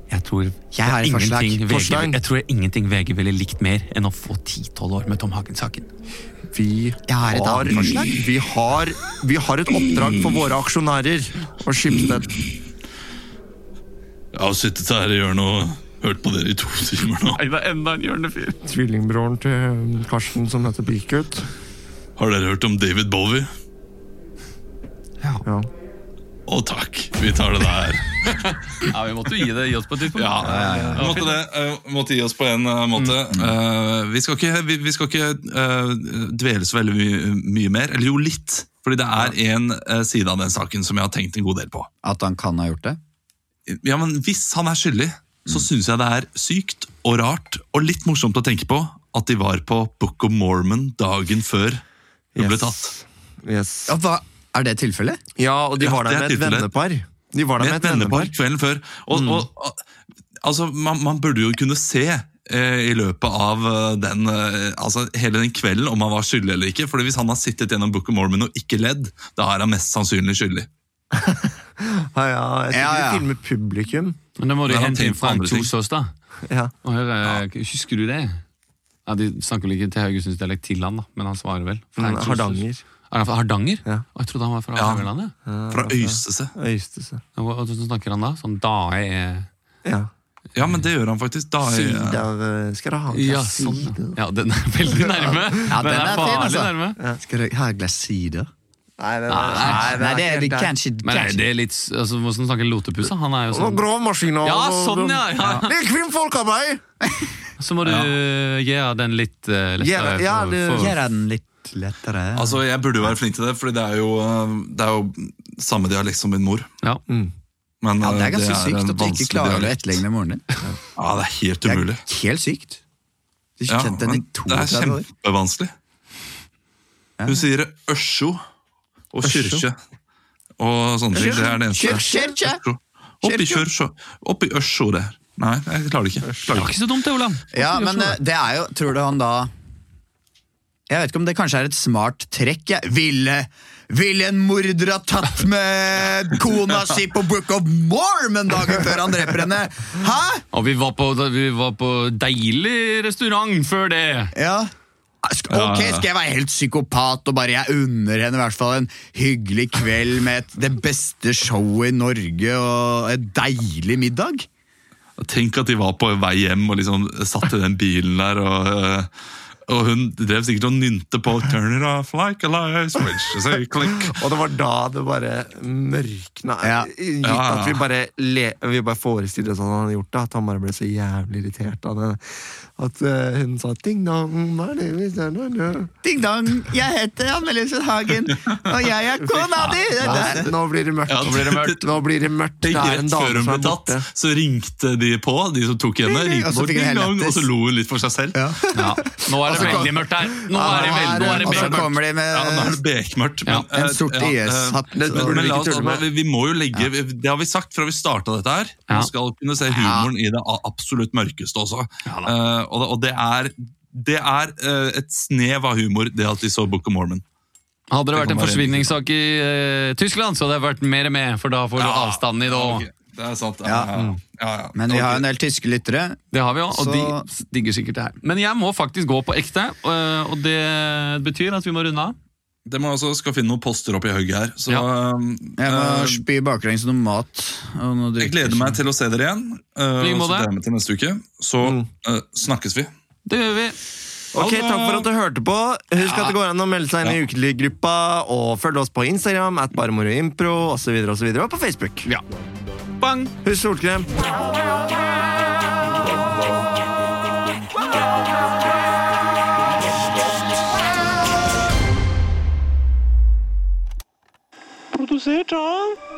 [SPEAKER 5] Jeg tror,
[SPEAKER 3] Jeg har et forslag.
[SPEAKER 5] ingenting VG,
[SPEAKER 4] Forslag.
[SPEAKER 5] jeg tror ingenting VG ville likt mer enn å få 10-12 år med Tom Hagen-saken.
[SPEAKER 4] Vi
[SPEAKER 3] Jeg har et
[SPEAKER 4] har,
[SPEAKER 3] annet forslag.
[SPEAKER 4] vi, har, vi har et oppdrag for våre aksjonærer og Skipsted.
[SPEAKER 1] Jeg har sittet her i hjørnet og hørt på dere i to timer nå.
[SPEAKER 9] Nei, det er enda en hjørnefyr.
[SPEAKER 4] Tvillingbroren til Karsten som heter Pikut.
[SPEAKER 1] Har dere hørt om David Bowie?
[SPEAKER 4] Ja.
[SPEAKER 1] Å takk, vi tar det der.
[SPEAKER 2] Ja, vi måtte jo gi det i oss på et tidspunkt.
[SPEAKER 1] Ja, Vi måtte, det, eh, måtte gi oss på en eh, måte.
[SPEAKER 2] Mm.
[SPEAKER 1] Eh, vi skal ikke, vi, vi skal ikke eh, dvele så veldig mye, mye mer. Eller jo, litt. Fordi det er en eh, side av den saken som jeg har tenkt en god del på.
[SPEAKER 3] At han kan ha gjort det?
[SPEAKER 1] Ja, men Hvis han er skyldig,
[SPEAKER 2] Mm.
[SPEAKER 1] så syns jeg det er sykt og rart og litt morsomt å tenke på at de var på Book of Mormon dagen før hun ble tatt.
[SPEAKER 3] Ja, hva, er det tilfellet?
[SPEAKER 4] Ja, og de
[SPEAKER 1] Ja,
[SPEAKER 4] var
[SPEAKER 1] det
[SPEAKER 4] der
[SPEAKER 1] er
[SPEAKER 4] med et
[SPEAKER 1] tilfellet.
[SPEAKER 4] vennepar. De var der med et vennepar.
[SPEAKER 1] kvelden før. Og,
[SPEAKER 3] Mm.
[SPEAKER 1] og, altså, man, man burde jo kunne se eh, i løpet av eh, den, eh, altså, hele den kvelden om han var skyldig eller ikke. Fordi hvis han har sittet gjennom Book of Mormon og ikke ledd, da er han mest sannsynlig skyldig.
[SPEAKER 4] Ja, ja, jeg tror
[SPEAKER 2] Ja,
[SPEAKER 4] de
[SPEAKER 2] ja.
[SPEAKER 4] filmer publikum.
[SPEAKER 2] Men da må du
[SPEAKER 4] Men han
[SPEAKER 2] hente inn
[SPEAKER 4] tenker på
[SPEAKER 2] Frank
[SPEAKER 4] andre ting.
[SPEAKER 2] Kjosås, da.
[SPEAKER 4] Ja.
[SPEAKER 2] Og hør, eh, Husker du det? Ja, De snakker vel ikke til Haugesundsdialekt til han, da, men han svarer vel. Frank
[SPEAKER 4] Mm,
[SPEAKER 2] Kjosås.
[SPEAKER 4] Hardanger.
[SPEAKER 2] Er han fra Hardanger? Å, jeg trodde han var fra
[SPEAKER 4] Ja.
[SPEAKER 2] Hardangerlandet.
[SPEAKER 3] Ah,
[SPEAKER 4] Ja, Fra Øystese. Øystese.
[SPEAKER 2] Og og Hvordan snakker han da? Sånn da er
[SPEAKER 4] Ja.
[SPEAKER 1] Ja, men det gjør han faktisk. Da er
[SPEAKER 4] Sider eh, skal du ha
[SPEAKER 2] Ja,
[SPEAKER 4] glass
[SPEAKER 2] sånn, ja.
[SPEAKER 4] sider?
[SPEAKER 2] ja, den er veldig nærme.
[SPEAKER 4] Ja, den er fin, altså.
[SPEAKER 3] Ja. Skal du ha et glass sider?
[SPEAKER 4] Nei, det,
[SPEAKER 2] Nei,
[SPEAKER 3] nei, det er det kanskje
[SPEAKER 2] Men er det litt altså, Hvordan snakker Lotepus? da? Han er jo sånn
[SPEAKER 4] Grov maskin og
[SPEAKER 2] Ja, sånn, ja, ja.
[SPEAKER 4] Det er kvinnfolkarbeid!
[SPEAKER 2] Så må du eh, gjøre den litt eh, lettere.
[SPEAKER 4] Gjøre- ja,
[SPEAKER 2] for-
[SPEAKER 4] det-
[SPEAKER 2] for-
[SPEAKER 4] gjøre
[SPEAKER 3] den litt lettere.
[SPEAKER 1] Altså, Jeg burde jo være flink til det, for det er jo, eh, det er jo samme dialekt som min mor. Men
[SPEAKER 3] Ja, det
[SPEAKER 1] eh,
[SPEAKER 3] er ganske
[SPEAKER 1] en
[SPEAKER 3] sykt at du ikke
[SPEAKER 1] vanskelig
[SPEAKER 3] klarer å
[SPEAKER 1] dialekt.
[SPEAKER 3] etterligne moren din.
[SPEAKER 1] Ja, det er helt umulig.
[SPEAKER 3] Det er helt sykt. Du har ikke kjent henne i
[SPEAKER 1] men det er
[SPEAKER 3] 32 år.
[SPEAKER 1] kjempevanskelig. Hun sier Ørsjo og
[SPEAKER 3] Ørsjo.
[SPEAKER 1] kyrkje og sånne ting. Det er det eneste.
[SPEAKER 3] Kyrkje, kyrkje.
[SPEAKER 1] Ørsjo. Oppi Kjørsjå. Oppi Ørsjo der. Nei, jeg klarer det ikke. Klarer det ikke.
[SPEAKER 2] så dumt, det, Olav.
[SPEAKER 3] Ja,
[SPEAKER 2] sånn
[SPEAKER 3] men eh, det er jo Tror du han da Jeg vet ikke om det kanskje er et smart trekk. Jeg ville ville en morder ha tatt med kona si på Book of Mormon dagen før han dreper henne? Hæ?!
[SPEAKER 2] Og vi var, på, vi var på deilig restaurant før det.
[SPEAKER 3] Ja. Ok, skal jeg være helt psykopat og bare jeg unner henne i hvert fall en hyggelig kveld med et, det beste showet i Norge og en deilig middag?
[SPEAKER 1] Tenk at de var på vei hjem og liksom satt i den bilen der og øh, og hun drev sikkert og nynte på 'turn it off like a light switch'. Så jeg klikk.
[SPEAKER 4] Og det var da det bare mørkna. Gitt
[SPEAKER 1] Ja.
[SPEAKER 4] at vi bare, le, vi bare forestiller oss at han hadde gjort det, at han bare ble så jævlig irritert av det. At eh, hun sa 'ding dong, hva er det vi ser nå?"
[SPEAKER 3] Ding dong, jeg heter Anne-Lise Hagen, og jeg er kona di!
[SPEAKER 4] Nei, Nå blir det mørkt.
[SPEAKER 1] Ja, nå blir det mørkt.
[SPEAKER 4] Nå blir det mørkt. Det
[SPEAKER 1] Tenk
[SPEAKER 4] er en
[SPEAKER 1] rett før
[SPEAKER 4] dame
[SPEAKER 1] hun
[SPEAKER 4] som
[SPEAKER 1] ble
[SPEAKER 4] er
[SPEAKER 1] tatt,
[SPEAKER 4] borte.
[SPEAKER 1] så ringte de på, de som tok henne.
[SPEAKER 4] Ding, ding,
[SPEAKER 1] Ringte
[SPEAKER 4] og så
[SPEAKER 1] på,
[SPEAKER 4] fikk hun
[SPEAKER 1] ding, dong, og
[SPEAKER 4] helvettis.
[SPEAKER 1] så lo hun litt for seg selv.
[SPEAKER 2] Ja. Nå er det veldig mørkt her. Nå er det veldig, nå
[SPEAKER 1] Og så
[SPEAKER 2] er det Altså, bekmørkt.
[SPEAKER 1] kommer de med- Ja, nå er det bekmørkt. men,
[SPEAKER 2] Eh, Ja, en
[SPEAKER 1] eh,
[SPEAKER 2] sort
[SPEAKER 1] ja, eh,
[SPEAKER 2] IS-hatt,
[SPEAKER 1] Men,
[SPEAKER 2] så-
[SPEAKER 1] men, men la oss,
[SPEAKER 2] Burde vi ikke tulle med?
[SPEAKER 1] vi, vi må jo legge Det har vi sagt fra vi starta dette her.
[SPEAKER 2] Ja.
[SPEAKER 1] Man skal kunne se humoren i det a- absolutt mørkeste også. Eh, og, det, og det er, det er eh, et snev av humor, det at de så Book of Mormon.
[SPEAKER 2] Hadde det
[SPEAKER 1] Det
[SPEAKER 2] vært
[SPEAKER 1] kan
[SPEAKER 2] en
[SPEAKER 1] være
[SPEAKER 2] forsvinningssak i eh, Tyskland, så hadde det vært mer med, for da får du avstanden i det òg.
[SPEAKER 1] Det er sant.
[SPEAKER 2] Ja. Mm.
[SPEAKER 3] Men vi har en del tyske lyttere.
[SPEAKER 2] Det har vi òg, og
[SPEAKER 3] Så-
[SPEAKER 2] de digger sikkert det her. Men jeg må faktisk gå på ekte, og, og det betyr at vi må runde av.
[SPEAKER 1] Det må altså skal finne noen poster oppi hugget her. Så, eh,
[SPEAKER 3] Jeg må
[SPEAKER 2] Um,
[SPEAKER 1] eh,
[SPEAKER 3] spy baklengs noe mat. Og noe
[SPEAKER 1] jeg gleder meg til å se dere igjen. eh,
[SPEAKER 2] I like
[SPEAKER 1] og så
[SPEAKER 2] måte.
[SPEAKER 1] gleder jeg meg til neste uke. Så
[SPEAKER 2] Mm.
[SPEAKER 1] eh, snakkes vi.
[SPEAKER 2] Det gjør vi.
[SPEAKER 4] Ok, Takk
[SPEAKER 2] eh,
[SPEAKER 4] for at du hørte på. Husk at det går an å melde seg inn i ukeliggruppa, og følge oss på Instagram, at baremoroimpro, osv., og, så videre, og på Facebook.
[SPEAKER 2] Ja. Bang!
[SPEAKER 4] Husk solkrem.
[SPEAKER 6] Produsert av